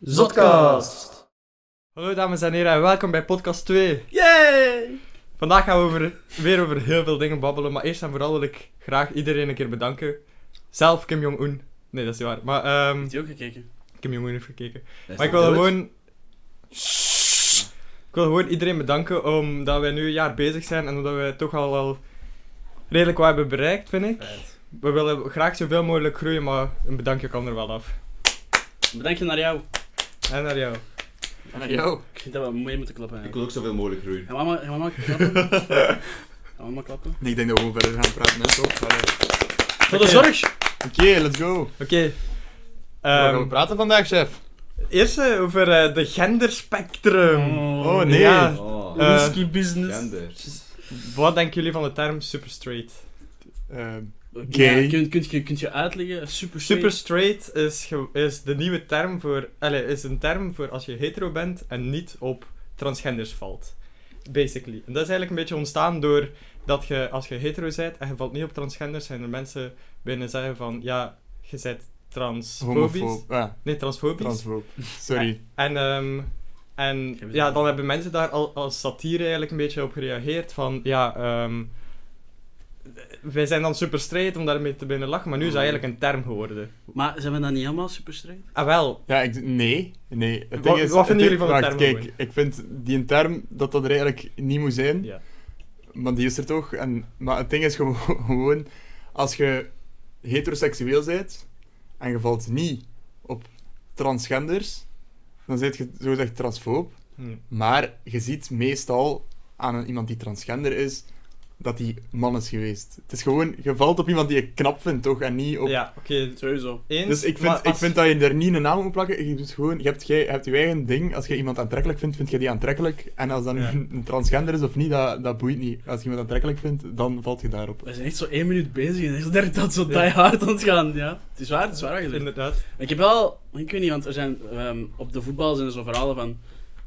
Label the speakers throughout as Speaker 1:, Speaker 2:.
Speaker 1: Zotcast.
Speaker 2: Hallo dames en heren en welkom bij podcast 2.
Speaker 1: Yay!
Speaker 2: Vandaag gaan we over, weer over heel veel dingen babbelen, maar eerst en vooral wil ik graag iedereen een keer bedanken. Zelf Kim Jong-un. Nee, dat is niet waar. Maar ehm
Speaker 1: Heeft hij ook gekeken?
Speaker 2: Kim Jong-un heeft gekeken. Maar ik wil gewoon... Ik wil gewoon iedereen bedanken omdat wij nu een jaar bezig zijn en omdat we toch al, al redelijk wat hebben bereikt, vind ik. We willen graag zoveel mogelijk groeien, maar een bedankje kan er wel af.
Speaker 1: Bedank je naar jou.
Speaker 2: En naar jou.
Speaker 1: Naar jou? Ik vind dat we mee moeten klappen.
Speaker 3: Ik
Speaker 1: eigenlijk.
Speaker 3: wil ook zoveel mogelijk groeien.
Speaker 1: Gaan we allemaal, gaan we allemaal klappen? Gaan we allemaal klappen?
Speaker 4: Nee, ik denk dat we gewoon verder gaan praten, hè, toch? Maar, eh,
Speaker 1: Voor de zorg!
Speaker 4: Oké, let's go. Waar
Speaker 2: Oké.
Speaker 4: gaan we
Speaker 2: Ehm,
Speaker 4: praten vandaag, chef?
Speaker 2: eerst eh, over eh, de genderspectrum.
Speaker 4: Oh, nee.
Speaker 2: Ja.
Speaker 3: Oh,
Speaker 2: Eh,
Speaker 1: Risky business.
Speaker 3: gender.
Speaker 2: Wat denken jullie van de term super straight?
Speaker 4: Ehm,
Speaker 1: Gay.
Speaker 4: Gay.
Speaker 1: kunt, kunt, je, kunt je uitleggen? Super
Speaker 2: Super straight is, ge- is de nieuwe term voor. Allez, is een term voor als je hetero bent en niet op transgenders valt. Basically. En dat is eigenlijk een beetje ontstaan door dat je als je hetero bent en je valt niet op transgenders, zijn er mensen binnen zeggen van ja, je bent transfobisch.
Speaker 4: Homofoob. Ah,
Speaker 2: Nee, transfobisch.
Speaker 4: transfoob. Sorry.
Speaker 2: En, ehm, en
Speaker 1: Geen
Speaker 2: ja,
Speaker 1: bezwaar.
Speaker 2: dan hebben mensen daar al, als satire eigenlijk een beetje op gereageerd van ja, ehm, wij zijn dan super straight om daarmee te binnen lachen, maar nu is
Speaker 1: Mm.
Speaker 2: dat eigenlijk een term geworden.
Speaker 1: Maar zijn we dan niet allemaal super straight?
Speaker 2: Ah wel,
Speaker 4: Ja, ik, nee. nee. Het
Speaker 2: Wat-
Speaker 4: ding
Speaker 2: wat
Speaker 4: is,
Speaker 2: vinden
Speaker 4: het ding-
Speaker 2: jullie van de
Speaker 4: wacht,
Speaker 2: term
Speaker 4: Kijk,
Speaker 2: gewoon?
Speaker 4: ik vind die term dat dat er eigenlijk niet moet zijn,
Speaker 2: ja.
Speaker 4: maar die is er toch. En, maar het ding is gewoon, gewoon, als je heteroseksueel bent en je valt niet op transgenders, dan ben je zogezegd transfoob.
Speaker 2: Hm.
Speaker 4: Maar je ziet meestal aan een- iemand die transgender is, dat die man is geweest. Het is gewoon, je valt op iemand die je knap vindt, toch? En niet op...
Speaker 2: Ja, oké.
Speaker 1: Sowieso.
Speaker 2: Eens,
Speaker 4: Dus ik vind,
Speaker 2: maar
Speaker 4: ik
Speaker 2: als-
Speaker 4: vind dat je er niet een naam op moet plakken. Je, doet gewoon, je, hebt, jij hebt je eigen ding. Als je iemand aantrekkelijk vindt, vind je die aantrekkelijk. En als dat nu
Speaker 2: Ja.
Speaker 4: een transgender is of niet, dat, dat boeit niet. Als je iemand aantrekkelijk vindt, dan valt je daarop.
Speaker 1: We zijn echt zo één minuut bezig en is er dat zo
Speaker 2: Ja.
Speaker 1: die hard aan het gaan. Ja. Het is waar, het is waar. wat je zegt.
Speaker 2: Inderdaad.
Speaker 1: Ik heb wel, ik weet niet, want er zijn ehm, op de voetbal zijn er zo verhalen van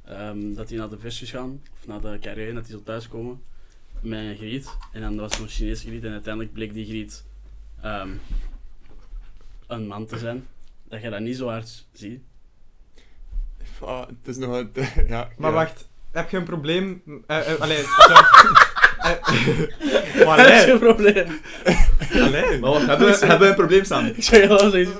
Speaker 1: ehm, dat die naar de versjes gaan, of naar de carré, dat die zo thuiskomen met een griet. En dan was er zo'n Chinees griet en uiteindelijk bleek die griet ehm, een man te zijn. Dat je dat niet zo hard ziet.
Speaker 4: Ah, het is nog een... Ja,
Speaker 2: Maar
Speaker 4: ja.
Speaker 2: wacht, heb je een probleem? eh eh, allee, sorry. Eh, maar
Speaker 1: Dat is
Speaker 2: allee,
Speaker 1: geen probleem.
Speaker 2: allee.
Speaker 3: Maar wat, hebben we, hebben we een probleem staan?
Speaker 1: Ik zeg wel zoiets.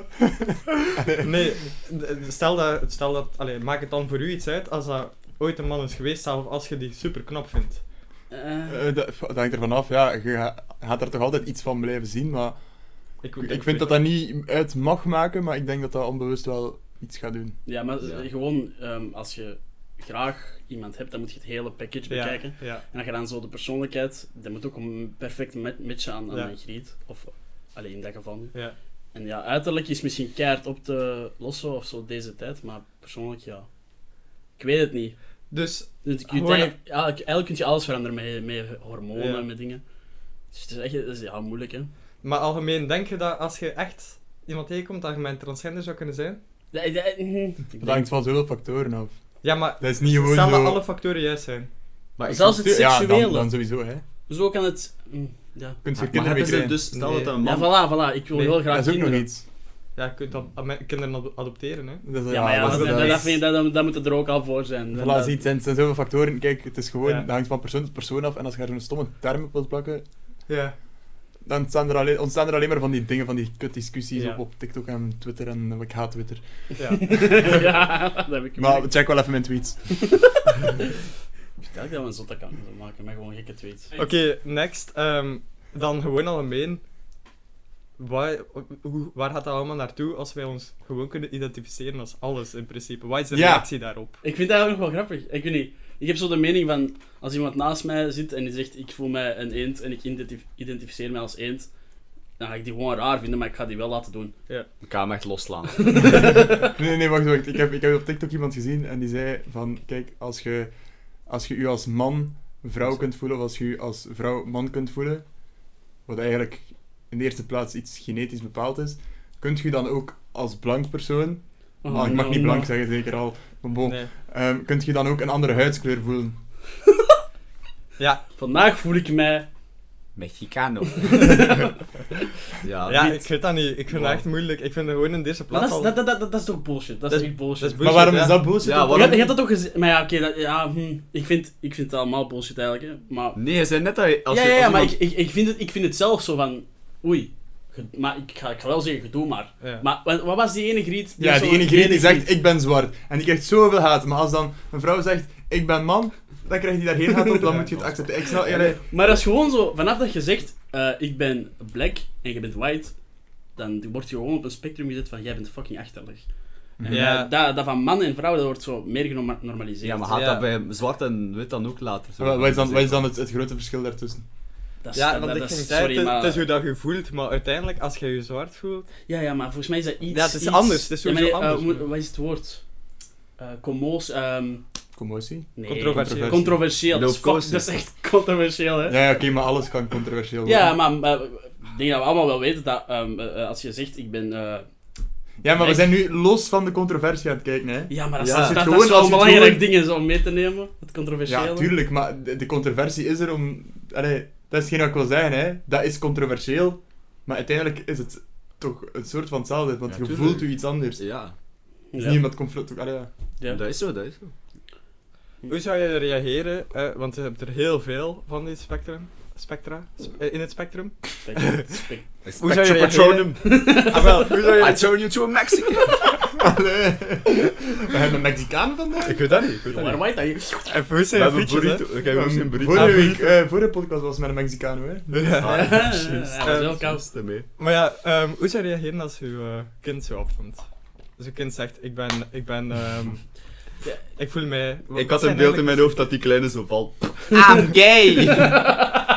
Speaker 2: Nee, d- d- stel dat, stel dat allee, maak het dan voor u iets uit als dat ooit een man is geweest, zelfs als je die super knap vindt.
Speaker 1: Eh,
Speaker 4: Eh, dat, dat hangt ervan af, ja. Je ga- gaat er toch altijd iets van blijven zien, maar... Ik, ik vind dat dat niet uit mag maken, maar ik denk dat dat onbewust wel iets gaat doen.
Speaker 1: ja, maar
Speaker 3: Ja.
Speaker 1: gewoon ehm, als je graag iemand hebt, dan moet je het hele package bekijken.
Speaker 2: Ja, ja.
Speaker 1: En dan je dan zo de persoonlijkheid, dat moet ook een perfect ma- matchen aan, aan
Speaker 2: Ja.
Speaker 1: een griet. Of alleen in dat geval nu.
Speaker 2: Ja.
Speaker 1: En ja, uiterlijk is misschien keihard op te lossen of zo deze tijd, maar persoonlijk ja. Ik weet het niet.
Speaker 2: Dus,
Speaker 1: Dus ik weet
Speaker 2: Gewoon-
Speaker 1: eigenlijk, ja, eigenlijk kun je alles veranderen met, met hormonen
Speaker 2: Ja.
Speaker 1: en met dingen. Dus het is echt dat is, ja, moeilijk hè.
Speaker 2: maar algemeen denk je dat als je echt iemand tegenkomt dat je mijn transgender zou kunnen zijn?
Speaker 1: Ja, ik- ik- ik denk-
Speaker 4: Dat hangt van zoveel factoren af.
Speaker 2: Ja, maar
Speaker 4: Dat is niet gewoon
Speaker 2: stel dat
Speaker 4: zo...
Speaker 2: alle factoren juist zijn.
Speaker 3: Maar ik
Speaker 1: Zelfs het
Speaker 4: Ja,
Speaker 1: seksuele.
Speaker 4: dan, dan sowieso, hè.
Speaker 1: Zo kan het. mm, Ja.
Speaker 4: Kunt je kinderen
Speaker 3: maar
Speaker 4: mee
Speaker 3: hebben ze
Speaker 4: krijgen.
Speaker 3: dus, stel
Speaker 2: Nee.
Speaker 3: dat een
Speaker 1: ja,
Speaker 3: man...
Speaker 1: voilà, voilà. Ik wil
Speaker 2: Nee,
Speaker 1: heel graag
Speaker 4: Dat is ook nog
Speaker 1: kinderen.
Speaker 4: iets.
Speaker 2: Ja, ah, je kunt dan aan kinderen ad- adopteren, hè.
Speaker 4: Dat is,
Speaker 1: Ja, maar ja,
Speaker 2: dat
Speaker 1: dat,
Speaker 2: is-
Speaker 1: dat,
Speaker 2: dat
Speaker 1: dat,
Speaker 2: is-
Speaker 1: vind je- dat, dat moet het er ook al voor zijn.
Speaker 4: Voilà,
Speaker 1: Dat-
Speaker 4: zie je, het zijn, het zijn zoveel factoren. Kijk, het is gewoon,
Speaker 2: Ja.
Speaker 4: dat hangt van persoon tot persoon af. En als je er een stomme term op wilt plakken,
Speaker 2: Ja.
Speaker 4: dan ontstaan er alleen, ontstaan er alleen maar van die dingen, van die kutdiscussies
Speaker 2: Ja.
Speaker 4: op, op TikTok en Twitter en eh, ik haat Twitter.
Speaker 2: ja.
Speaker 1: ja, dat heb ik
Speaker 4: Maar
Speaker 1: gemerkt.
Speaker 4: check wel even mijn tweets.
Speaker 1: Stel dat we een zotte kan maken met gewoon gekke tweets.
Speaker 2: Oké, next. Ehm, dan gewoon algemeen. Waar, hoe, waar gaat dat allemaal naartoe als wij ons gewoon kunnen identificeren als alles in principe? Wat is de
Speaker 4: Ja.
Speaker 2: reactie daarop?
Speaker 1: Ik vind dat eigenlijk nog wel grappig. Ik weet niet. Ik heb zo de mening van als iemand naast mij zit en die zegt ik voel mij een eend en ik identif- identificeer mij als eend, dan ga ik die gewoon raar vinden, maar ik ga die wel laten doen.
Speaker 3: Ik ga hem echt loslaan.
Speaker 4: Nee, nee, wacht, wacht. Ik heb, ik heb op TikTok iemand gezien en die zei van, kijk, als je als je, je als man vrouw kunt voelen of als je je als vrouw man kunt voelen, wat eigenlijk in de eerste plaats iets genetisch bepaald is, kunt je dan ook als blank persoon,
Speaker 1: Oh,
Speaker 4: maar Ah, ik mag
Speaker 1: no,
Speaker 4: niet blank
Speaker 1: no.
Speaker 4: zeggen zeker al, maar bon,
Speaker 2: Nee.
Speaker 4: ehm, kunt je dan ook een andere huidskleur voelen?
Speaker 2: Ja,
Speaker 1: Vandaag voel ik mij
Speaker 5: Mexicano.
Speaker 3: Ja,
Speaker 4: Ah,
Speaker 2: ja,
Speaker 3: niet.
Speaker 2: ik weet dat niet. Ik vind dat echt moeilijk. Ik vind het gewoon in deze
Speaker 1: Maar
Speaker 2: plaats
Speaker 1: dat,
Speaker 2: al...
Speaker 1: is, dat, dat, dat, dat is toch bullshit? Dat is
Speaker 2: Dat is-
Speaker 1: echt bullshit.
Speaker 2: dat is
Speaker 4: Maar
Speaker 2: Bullshit,
Speaker 4: waarom
Speaker 2: ja.
Speaker 4: is dat bullshit?
Speaker 3: Ja,
Speaker 4: dan?
Speaker 1: Je
Speaker 3: waarom-
Speaker 1: had, je had dat toch gezien? Maar ja, oké, dat- ja, hm, ik, vind, ik vind het allemaal bullshit eigenlijk. Hè. Maar,
Speaker 3: Nee, je zei net dat je... Als
Speaker 1: ja,
Speaker 3: je,
Speaker 1: ja,
Speaker 3: als
Speaker 1: ja, maar
Speaker 3: iemand-
Speaker 1: ik, ik, ik, vind het, ik vind het zelf zo van. Oei. ge- Maar ik ga, ik ga wel zeggen, gedoe maar.
Speaker 2: Ja.
Speaker 1: Maar wa- wat was die ene griet?
Speaker 4: Ja,
Speaker 1: is
Speaker 4: die
Speaker 1: zo'n
Speaker 4: ene griet die
Speaker 1: kleine
Speaker 4: zegt, ik ben zwart. En die krijgt zoveel haat. Maar als dan een vrouw zegt, ik ben man, dan krijgt die daar geen haat op. Dan moet je het accepteren. Ik snap, ja,
Speaker 1: Maar dat is gewoon zo, vanaf dat je zegt, eh, ik ben black en je bent white, dan word je gewoon op een spectrum gezet van, jij bent fucking achterlijk. En
Speaker 2: Ja.
Speaker 1: dat, dat, dat van man en vrouw, dat wordt zo meer genormaliseerd.
Speaker 3: Ja, maar had
Speaker 2: Ja.
Speaker 3: dat bij zwart en wit dan ook later? zo?
Speaker 4: wat is dan, wat is dan het, het grote verschil daartussen?
Speaker 1: dat is,
Speaker 2: Ja,
Speaker 1: dat-
Speaker 2: want
Speaker 1: dat
Speaker 2: ik
Speaker 1: is-
Speaker 2: ging
Speaker 1: sorry,
Speaker 2: zeggen, het-
Speaker 1: maar...
Speaker 2: het is hoe dat je voelt, maar uiteindelijk, als je je zwart voelt...
Speaker 1: Ja, ja, maar volgens mij is dat iets...
Speaker 2: Ja, het is
Speaker 1: iets-
Speaker 2: anders, het is
Speaker 1: Ja, maar
Speaker 2: sowieso
Speaker 1: nee, eh,
Speaker 2: anders.
Speaker 1: hoe- wat is het woord? Eh commoos, ehm,
Speaker 4: Commotie?
Speaker 1: nee,
Speaker 2: Controversieel.
Speaker 1: Controversieel, dat is,
Speaker 3: No
Speaker 1: fuck- dat is echt controversieel, hè.
Speaker 4: Ja, ja oké, maar alles kan controversieel worden.
Speaker 1: Ja, maar eh, ik denk dat we allemaal wel weten dat ehm, eh, eh, als je zegt, ik ben... eh,
Speaker 4: Ja, maar we
Speaker 1: Ik-
Speaker 4: zijn nu los van de controversie aan het kijken, hè.
Speaker 1: Ja, maar dat,
Speaker 3: Ja,
Speaker 1: is, dat,
Speaker 3: als je
Speaker 4: het
Speaker 1: dat
Speaker 4: gewoon-
Speaker 1: is wel
Speaker 4: als
Speaker 1: een
Speaker 4: je het
Speaker 1: belangrijk
Speaker 4: gewoon-
Speaker 1: ding is om mee te nemen, het controversiële.
Speaker 4: Ja, tuurlijk, maar de, de controversie is er om... Allee, dat is geen wat ik wil zeggen, hè. Dat is controversieel, maar uiteindelijk is het toch een soort van hetzelfde, want
Speaker 3: Ja,
Speaker 4: je
Speaker 3: tuurlijk.
Speaker 4: voelt u iets anders. Het
Speaker 3: Ja,
Speaker 4: is
Speaker 1: Ja.
Speaker 4: niet iemand conflict... Allee, ja.
Speaker 1: Ja.
Speaker 3: dat is zo, dat is zo.
Speaker 2: Hoe zou je reageren? eh, want je hebt er heel veel van dit spectrum. Spectra? Sp- eh, in het spectrum.
Speaker 1: Spek- spek-
Speaker 2: Hoe zou je
Speaker 3: Spectrum
Speaker 2: reageren? Ah, wel, hoe zou je...
Speaker 3: I turn you to a Mexican.
Speaker 4: Allee. We hebben een Mexicaan vandaag.
Speaker 3: ik weet dat niet. Ik weet
Speaker 1: Waar waait dat hier?
Speaker 2: Even hoe zijn frietjes, hè?
Speaker 3: Ik heb ook zijn burrito.
Speaker 4: Vorige week, eh, vorige podcast was met een Mexicaan, hè.
Speaker 2: Ah, Ja.
Speaker 1: Ja, dat is wel koud.
Speaker 3: Kast ermee.
Speaker 2: Maar ja, ehm, hoe zou je reageren als je kind zo opkomt? Als je kind zegt, ik ben... Ik ben... ehm,
Speaker 1: Ja.
Speaker 2: Ik voel mij...
Speaker 3: Ik had een beeld in mijn hoofd dat die kleine zo valt.
Speaker 5: I'm gay!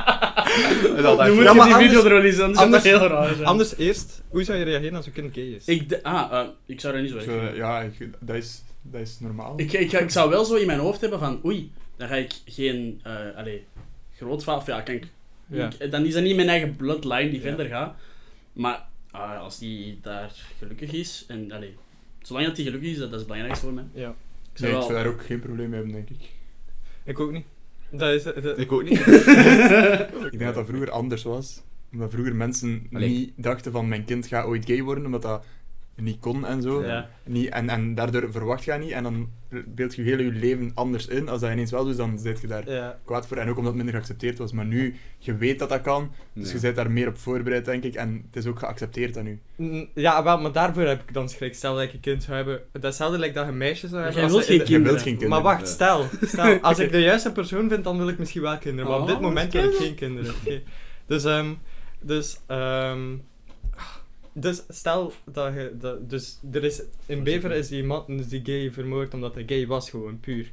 Speaker 1: Nu
Speaker 3: En dat dacht
Speaker 1: moet
Speaker 3: ik,
Speaker 2: maar
Speaker 1: je die
Speaker 2: anders-
Speaker 1: video er wel eens anders is dat
Speaker 2: anders-
Speaker 1: heel raar. zijn.
Speaker 2: Anders eerst, hoe zou je reageren als je kind gay is?
Speaker 1: Ik, d- ah, eh, ik zou er niet zo erg
Speaker 4: Zo,
Speaker 1: vinden.
Speaker 4: Dus, ja, ik- dat, is, dat is normaal.
Speaker 1: ik, ik, ik zou wel zo in mijn hoofd hebben van, oei, dan ga ik geen, eh allee, grootvader, of ja, kan ik,
Speaker 2: Ja.
Speaker 1: ik- dan is dat niet mijn eigen bloodline die
Speaker 2: Ja.
Speaker 1: verder gaat. Maar ah, als die daar gelukkig is, en allee, zolang dat die gelukkig is, dat, dat is het belangrijkste voor mij.
Speaker 2: Ja.
Speaker 1: Ik
Speaker 4: Nee,
Speaker 1: zou
Speaker 4: ik
Speaker 1: wel-
Speaker 4: zou daar ook geen probleem mee hebben, denk ik.
Speaker 2: Ik ook niet. Dat is... dat-
Speaker 3: Ik ook niet.
Speaker 4: Ik denk dat dat vroeger anders was. Omdat vroeger mensen
Speaker 3: Allee.
Speaker 4: niet dachten van mijn kind gaat ooit gay worden, omdat dat niet kon en zo.
Speaker 1: ja.
Speaker 4: Niet, en, en daardoor verwacht je dat niet. En dan beeld je heel je leven anders in. Als dat ineens wel doet, dan zit je daar
Speaker 2: Ja.
Speaker 4: kwaad voor. En ook omdat het minder geaccepteerd was. Maar nu, je weet dat dat kan. Dus
Speaker 3: Nee.
Speaker 4: je bent daar meer op voorbereid, denk ik. En het is ook geaccepteerd aan u.
Speaker 2: Mm, Ja, wel, maar daarvoor heb ik dan schrik. Stel dat ik een kind zou hebben. Datzelfde lijkt dat je een meisje zou
Speaker 1: Maar
Speaker 2: hebben.
Speaker 1: jij
Speaker 2: als
Speaker 1: wilt
Speaker 2: ze in
Speaker 1: geen
Speaker 2: de-
Speaker 4: Je
Speaker 1: Kinderen.
Speaker 4: wilt geen kinderen.
Speaker 2: Maar wacht,
Speaker 3: Ja.
Speaker 2: stel, stel. Als ik de juiste persoon vind, dan wil ik misschien wel kinderen. Maar op
Speaker 1: Oh,
Speaker 2: dit moment
Speaker 1: dat
Speaker 2: heb
Speaker 1: is
Speaker 2: ik geen kinderen. Oké. Dus, ehm dus, ehm dus stel dat je... Dat, dus er is, in Beveren is die man is die gay vermoord omdat hij gay was, gewoon puur.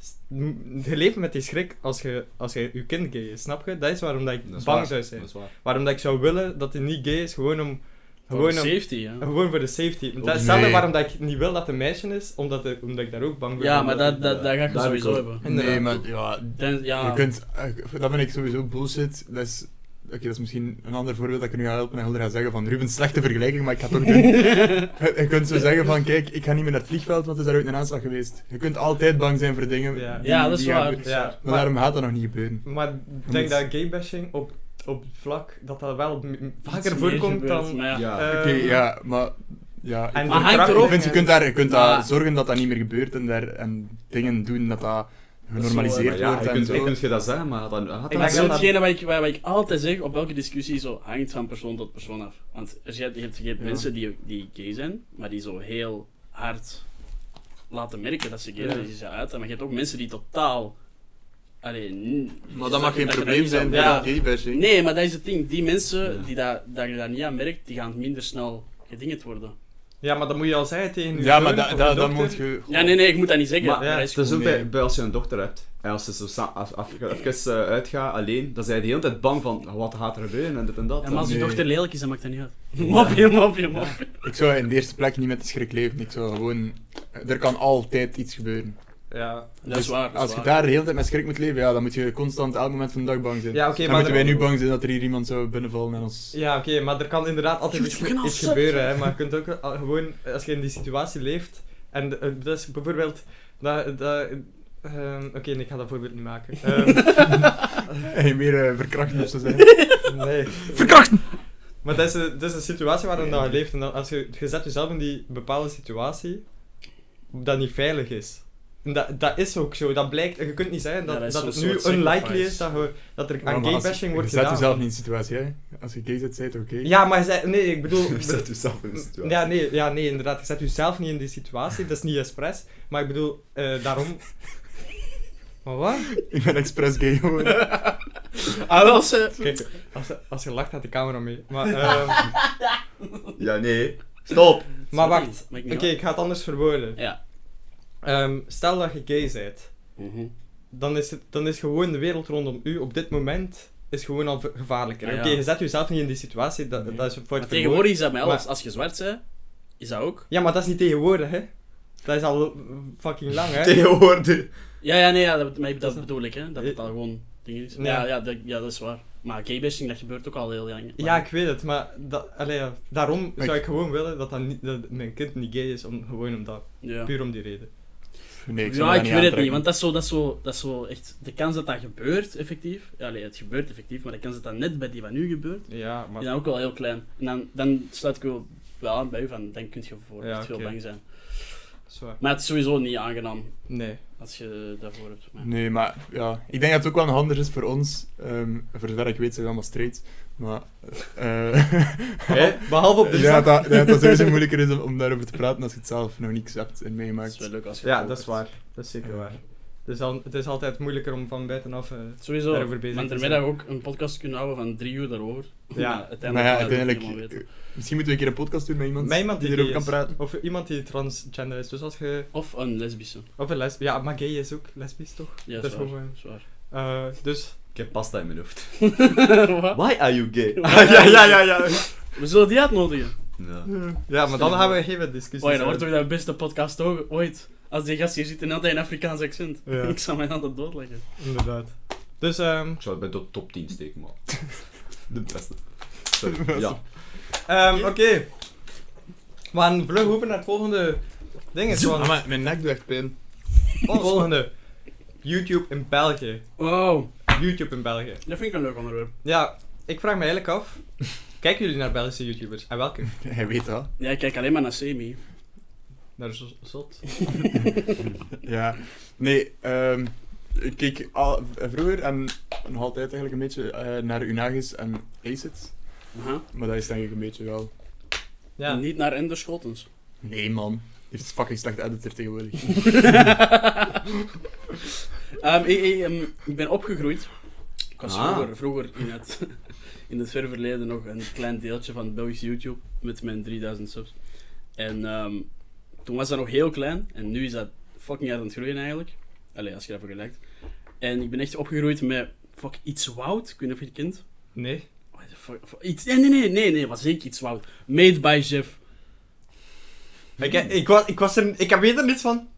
Speaker 2: S- m- Je leeft met die schrik als je, als je, je kind gay is, snap je? Dat is waarom dat ik
Speaker 3: Dat is
Speaker 2: bang
Speaker 3: waar.
Speaker 2: zou zijn.
Speaker 3: Dat is waar.
Speaker 2: Waarom dat ik zou willen dat hij niet gay is, gewoon om...
Speaker 1: Voor
Speaker 2: Gewoon om,
Speaker 1: safety, ja.
Speaker 2: gewoon voor de safety. Dat
Speaker 4: nee.
Speaker 2: is hetzelfde waarom dat ik niet wil dat het een meisje is, omdat, ik- omdat ik daar ook bang voor
Speaker 1: Ja,
Speaker 2: ben
Speaker 1: maar eh,
Speaker 2: ik-
Speaker 1: dat, dat, dat ga ik
Speaker 3: Daar
Speaker 1: sowieso
Speaker 3: heb ik
Speaker 1: hebben.
Speaker 4: Nee,
Speaker 2: Inderdaad.
Speaker 4: maar ja,
Speaker 1: Dan, ja,
Speaker 4: Je kunt, eh, dat vind ik sowieso bullshit. Dat is, oké, dat is misschien een ander voorbeeld dat ik nu ga helpen en ga zeggen van Ruben, slechte vergelijking, maar ik ga het toch doen. je, je kunt zo zeggen van, kijk, ik ga niet meer naar het vliegveld, want er is daar ooit een aanslag geweest. Je kunt altijd bang zijn voor dingen.
Speaker 2: Ja.
Speaker 4: die-
Speaker 1: ja, dat is
Speaker 4: die gaan
Speaker 1: waar.
Speaker 4: gebeuren.
Speaker 2: Ja,
Speaker 4: Maar,
Speaker 2: maar,
Speaker 4: daarom gaat dat nog niet gebeuren.
Speaker 2: maar ik denk dat gaybashing op, op vlak, dat dat wel m- m- vaker voorkomt dan...
Speaker 1: Maar ja.
Speaker 3: Ja.
Speaker 2: eh,
Speaker 4: Oké, ja, maar... Ja,
Speaker 2: en
Speaker 4: ik-
Speaker 1: Maar hangt
Speaker 2: verkrachting
Speaker 1: er ook-
Speaker 4: ik vind, je kunt, daar, je kunt
Speaker 1: Maar-
Speaker 4: daar zorgen dat dat niet meer gebeurt en, daar, en dingen doen dat dat
Speaker 3: Maar
Speaker 4: genormaliseerd
Speaker 3: ja,
Speaker 4: wordt
Speaker 3: je
Speaker 4: en
Speaker 3: kunt,
Speaker 4: zo.
Speaker 3: je kunt je dat zeggen, maar dan had
Speaker 2: Ik
Speaker 1: Maar
Speaker 2: denk
Speaker 1: dat
Speaker 3: dat...
Speaker 1: is
Speaker 2: dat-
Speaker 1: hetgene wat ik, wat, wat ik altijd zeg op elke discussie, zo hangt van persoon tot persoon af. Want er zijn- je hebt, je hebt
Speaker 4: Ja.
Speaker 1: mensen die, die gay zijn, maar die zo heel hard laten merken dat ze gay zijn,
Speaker 2: Ja.
Speaker 1: die ze uiten. Maar je hebt ook mensen die totaal... Alleen,
Speaker 4: Maar dat mag geen probleem zijn voor
Speaker 1: Ja.
Speaker 4: dat gaybashing.
Speaker 1: Nee, maar dat is het ding. Die mensen
Speaker 3: Ja.
Speaker 1: die dat, dat je daar niet aan merkt, die gaan minder snel gedingend worden.
Speaker 2: Ja, maar dat moet je al zeggen tegen je
Speaker 4: Ja, maar
Speaker 2: zoon
Speaker 4: da,
Speaker 2: of
Speaker 4: da-
Speaker 2: je
Speaker 4: dan
Speaker 2: dochter.
Speaker 4: moet je...
Speaker 1: Ja, nee, nee, ik moet dat niet zeggen.
Speaker 3: Maar,
Speaker 1: Maar dat is
Speaker 3: Het is
Speaker 1: gewoon-
Speaker 3: ook bij,
Speaker 4: Nee.
Speaker 3: bij als je een dochter hebt. En als ze zo sa- af- af- even eh, uitgaat alleen, dan zijn die de hele tijd bang van "Oh, wat gaat er gebeuren en dit en dat.
Speaker 1: Ja, maar als je
Speaker 4: Nee.
Speaker 1: dochter lelijk is, dan maakt dat niet uit. Mopje, mopje, mopje.
Speaker 4: Ik zou in de eerste plek niet met de schrik leven. Ik zou gewoon... eh, Er kan altijd iets gebeuren.
Speaker 2: Ja,
Speaker 1: Dat is
Speaker 4: Dus
Speaker 1: waar. dat is
Speaker 4: Als je
Speaker 1: waar.
Speaker 4: daar de hele tijd met schrik moet leven, ja, dan moet je constant elk moment van de dag bang zijn.
Speaker 2: ja oké,
Speaker 4: dan
Speaker 2: maar...
Speaker 4: moeten
Speaker 2: er-
Speaker 4: wij nu bang zijn dat er hier iemand zou binnenvallen en ons...
Speaker 2: Ja, oké, maar er kan inderdaad altijd iets,
Speaker 1: YouTube-kanaal
Speaker 2: iets
Speaker 1: sukt.
Speaker 2: gebeuren, hè, maar je kunt ook al- gewoon, als je in die situatie leeft, en eh, dus dat is bijvoorbeeld, dat, dat, Ehm, Oké, nee, ik ga dat voorbeeld niet maken. Ehm,
Speaker 4: En je meer eh, verkracht of zo zijn.
Speaker 2: nee.
Speaker 5: Verkrachten!
Speaker 2: Maar dat is, de- dat is de situatie waarin dat je leeft. En dan, als je, je zet jezelf in die bepaalde situatie dat niet veilig is. En dat, dat is ook zo. Dat blijkt, je kunt niet zeggen dat,
Speaker 1: Ja, dat is
Speaker 2: dat,
Speaker 1: zo'n
Speaker 2: het nu
Speaker 1: soort
Speaker 2: unlikely
Speaker 1: sacrifice.
Speaker 2: is dat, je, dat er
Speaker 4: Maar
Speaker 2: aan
Speaker 4: als-
Speaker 2: gaybashing wordt
Speaker 4: Je zet
Speaker 2: gedaan.
Speaker 4: jezelf niet in de situatie, hè. Als je gay zit, zijt oké.
Speaker 2: Ja, maar je zei- nee, ik bedoel...
Speaker 3: Je zet jezelf in dus een situatie.
Speaker 2: Ja nee, ja, nee, inderdaad. Je zet jezelf niet in die situatie. Dat is niet expres. Maar ik bedoel, eh, daarom... Maar wat?
Speaker 4: Ik ben expres gay geworden.
Speaker 1: Ah, wel, ze...
Speaker 2: Kijk, als, als je lacht, gaat de camera mee. Maar, ehm,
Speaker 3: Ja, nee. Stop.
Speaker 2: maar
Speaker 1: Sorry,
Speaker 2: wacht.
Speaker 1: maakt
Speaker 2: Oké,
Speaker 1: niet uit.
Speaker 2: ik ga het anders verwoorden.
Speaker 1: Ja.
Speaker 2: Ehm, stel dat je gay bent.
Speaker 1: Mhm.
Speaker 2: dan is, het, dan is gewoon de wereld rondom u op dit moment is gewoon al ve- gevaarlijker.
Speaker 1: Ja, ja.
Speaker 2: Oké, je zet jezelf niet in die situatie, dat, dat is een fout
Speaker 1: Maar
Speaker 2: verwoord.
Speaker 1: tegenwoordig is dat met alles.
Speaker 2: Maar-
Speaker 1: Als je zwart bent, is dat ook.
Speaker 2: Ja, maar dat is niet tegenwoordig, hè. Dat is al fucking lang, hè.
Speaker 3: Tegenwoordig.
Speaker 1: Ja, ja, nee, ja, dat, maar
Speaker 2: Dat
Speaker 1: dat
Speaker 2: is-
Speaker 1: bedoel ik, hè. Dat het al gewoon dingen is.
Speaker 2: Eh, Ja.
Speaker 1: Ja, ja, dat, ja, dat is waar. Maar gaybashing, dat gebeurt ook al heel lang.
Speaker 2: Ja, ik weet het, maar dat, allee, ja, daarom
Speaker 4: Maar
Speaker 2: zou
Speaker 4: ik-
Speaker 2: ik gewoon willen dat, dat, niet, dat mijn kind niet gay is, om, gewoon om dat,
Speaker 1: Ja.
Speaker 2: puur om die reden.
Speaker 4: Nee, ik zou
Speaker 1: ja,
Speaker 4: dat niet
Speaker 1: ik weet het
Speaker 4: aantrekken.
Speaker 1: niet, want dat is, zo, dat, is zo, dat is zo echt... De kans dat dat gebeurt, effectief... Ja, nee, het gebeurt effectief, maar de kans dat dat net bij die van nu gebeurt,
Speaker 2: Ja, maar...
Speaker 1: is dan ook wel heel klein. En dan, dan sluit ik wel, wel aan bij u van, dan kun je voor
Speaker 2: Ja,
Speaker 1: echt veel
Speaker 2: oké.
Speaker 1: bang zijn.
Speaker 2: Zwaar.
Speaker 1: Maar het is sowieso niet aangenaam
Speaker 2: Nee.
Speaker 1: als je daarvoor hebt. Maar...
Speaker 4: Nee, maar ja, ik denk dat het ook wel handig is voor ons. ehm, voor zover ik weet zijn we allemaal straight. Maar... eh,
Speaker 2: Hè? Behalve op dit
Speaker 4: ja,
Speaker 2: vlak.
Speaker 4: dat, dat dat sowieso moeilijker is om, om daarover te praten als je het zelf nog niks hebt en
Speaker 1: Het is
Speaker 4: meegemaakt.
Speaker 1: wel leuk als je
Speaker 2: Ja,
Speaker 1: het
Speaker 2: dat is
Speaker 1: hoort.
Speaker 2: waar. Dat is zeker waar. Dus dan, het is altijd moeilijker om van buitenaf... eh,
Speaker 1: Sowieso,
Speaker 2: Daarover bezig
Speaker 1: maar
Speaker 2: te
Speaker 1: termiddag ook een podcast kunnen houden van drie uur daarover.
Speaker 2: Ja.
Speaker 1: Maar
Speaker 4: Maar
Speaker 1: uiteindelijk
Speaker 4: ja,
Speaker 1: gaan we het
Speaker 4: uiteindelijk...
Speaker 1: helemaal weten.
Speaker 4: eh, Misschien moeten we een keer een podcast doen met iemand,
Speaker 2: met iemand die,
Speaker 4: erover
Speaker 2: gay
Speaker 4: kan
Speaker 2: is.
Speaker 4: praten.
Speaker 2: Of iemand die transgender is. Dus als je...
Speaker 1: Of een lesbische.
Speaker 2: Of een lesb... Ja, maar gay is ook lesbisch, toch?
Speaker 1: Ja,
Speaker 2: Dat is
Speaker 1: zwaar.
Speaker 2: gewoon-
Speaker 1: zwaar.
Speaker 2: Eh, dus...
Speaker 3: Ik heb pasta in mijn hoofd.
Speaker 1: Wat?
Speaker 3: Why are you gay? ja, ja, ja, ja.
Speaker 1: We zullen die uitnodigen.
Speaker 3: Ja.
Speaker 2: Ja, maar dan gaan we geen discussies
Speaker 1: Oei, dat Oh wordt toch de beste podcast ook ooit. Als die gast hier zit en altijd een Afrikaans accent.
Speaker 2: Ja.
Speaker 1: Ik zal mij altijd doodleggen.
Speaker 2: Inderdaad. Dus, ehm...
Speaker 3: Ik zou het bij de top 10 steken, man. De beste. Sorry. Ja.
Speaker 2: ehm, Oké. We gaan vlug over naar het volgende ding. is, want-
Speaker 4: maar mijn nek doet echt pijn.
Speaker 2: Het volgende. YouTube in België.
Speaker 1: Wow,
Speaker 2: YouTube in België.
Speaker 1: dat vind ik een leuk onderwerp.
Speaker 2: Ja, ik vraag me eigenlijk af... Kijken jullie naar Belgische YouTubers? En welke?
Speaker 4: Hij weet dat.
Speaker 1: Ja, ik kijk alleen maar naar Semi.
Speaker 2: Naar Z- Zot?
Speaker 4: Ja. Nee, ehm, ik keek al, vroeger en nog altijd eigenlijk een beetje eh, naar Unagis en Acid.
Speaker 1: Aha.
Speaker 4: Maar dat is denk ik een beetje wel...
Speaker 2: Ja.
Speaker 1: Niet naar Ender Schotens.
Speaker 4: Nee man, heeft een fucking slecht editor tegenwoordig.
Speaker 1: Ehm, ik, ik, ehm, ik ben opgegroeid. Ik was
Speaker 3: Ah.
Speaker 1: vroeger, vroeger in, het, in het ver verleden nog een klein deeltje van Belgisch YouTube met mijn 3000 subs. En ehm, toen was dat nog heel klein en nu is dat fucking hard aan het groeien eigenlijk. Allee, als je dat vergelijkt. En ik ben echt opgegroeid met fuck iets woud. Ik weet niet of je het kent.
Speaker 2: Nee.
Speaker 1: What the fuck- fuck- Iets, nee, nee, nee, nee, nee, was ik iets woud. Made by Jeff.
Speaker 2: Ik, ik, was, ik was er... Ik heb weet er niets van.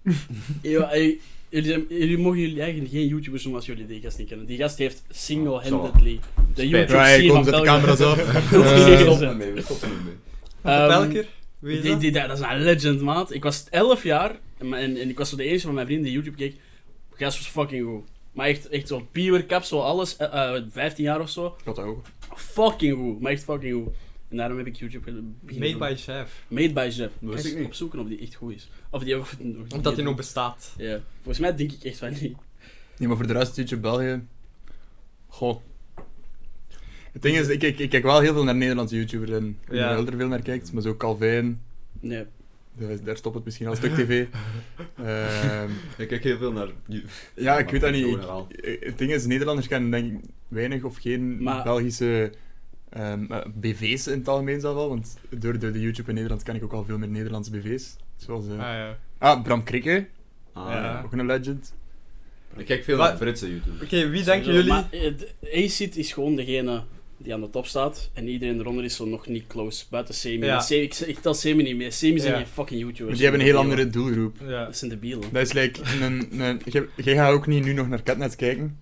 Speaker 1: Ja, ey, jullie, zijn- jullie mogen jullie eigenlijk geen YouTubers noemen als jullie die gast niet kennen. Die gast heeft single-handedly de
Speaker 3: Spijt.
Speaker 1: YouTube
Speaker 4: Right,
Speaker 1: scene
Speaker 4: kom,
Speaker 1: van
Speaker 4: zet de
Speaker 1: België.
Speaker 4: camera's af.
Speaker 1: Eh,
Speaker 3: Stop er mee, we stoppen er mee.
Speaker 1: Ehm,
Speaker 2: Vertel een keer. Wie
Speaker 1: die,
Speaker 2: is dat?
Speaker 1: die- dat is een legend, maat. Ik was 11 jaar en, ma- en, en ik was zo de enige van mijn vrienden die YouTube keek. Gast was fucking goed. Maar echt, echt zo'n piewerkap, zo alles, eh, eh, 15 jaar of zo.
Speaker 4: Ik had dat ook.
Speaker 1: Fucking goed, maar echt fucking goed. En daarom heb ik YouTube gel- beginnen
Speaker 2: Made
Speaker 1: doen.
Speaker 2: by Chef.
Speaker 1: Made by Jeff.
Speaker 3: Dat wist
Speaker 1: Ga
Speaker 3: ik
Speaker 1: eens
Speaker 3: niet.
Speaker 1: opzoeken of die echt goed is. Of die, of, of die-
Speaker 2: Omdat hij nog bestaat.
Speaker 1: Ja, volgens mij denk ik echt van niet.
Speaker 4: Nee, maar voor de rest, YouTube België... Goh. Het ding is, ik, kijk- ik kijk wel heel veel naar Nederlandse YouTubers en ik weet
Speaker 2: Ja.
Speaker 4: niet of je er veel naar kijkt, maar zo Calvin,
Speaker 1: Nee.
Speaker 4: daar, is- daar stopt het misschien al een stuk tv. Ehm,
Speaker 3: Ik kijk heel veel naar... you-
Speaker 4: ja, ik
Speaker 3: Maar
Speaker 4: weet dat niet.
Speaker 3: gewoon
Speaker 4: Ik-
Speaker 3: herhaal.
Speaker 4: eh, het ding is, Nederlanders kennen denk ik weinig of geen
Speaker 1: Maar-
Speaker 4: Belgische ehm, eh, BV's in het algemeen zelf wel, want door, door de YouTube in Nederland ken ik ook al veel meer Nederlandse BV's. Zoals... eh,
Speaker 2: Ah ja.
Speaker 4: Ah, Bram Krikke,
Speaker 3: Ah,
Speaker 2: Ja.
Speaker 3: ja.
Speaker 4: ook een legend.
Speaker 3: Ik kijk veel
Speaker 2: Wat?
Speaker 3: naar Britse
Speaker 2: Oké,
Speaker 3: YouTube.
Speaker 2: wie denken
Speaker 1: Sowieso,
Speaker 2: jullie?
Speaker 1: Maar, eh, d- Acid is gewoon degene die aan de top staat. En iedereen eronder is zo nog niet close. Buiten Semi.
Speaker 2: Ja.
Speaker 1: Maar Semi- Ik, zeg- ik tel Semi niet mee. Semi zijn
Speaker 2: Ja.
Speaker 1: geen fucking YouTubers.
Speaker 4: Maar die hebben een heel andere doelgroep.
Speaker 2: Ja.
Speaker 1: Dat zijn debielen.
Speaker 4: Dat is like een... een jij jij gaat ook niet nu nog naar Catnet kijken.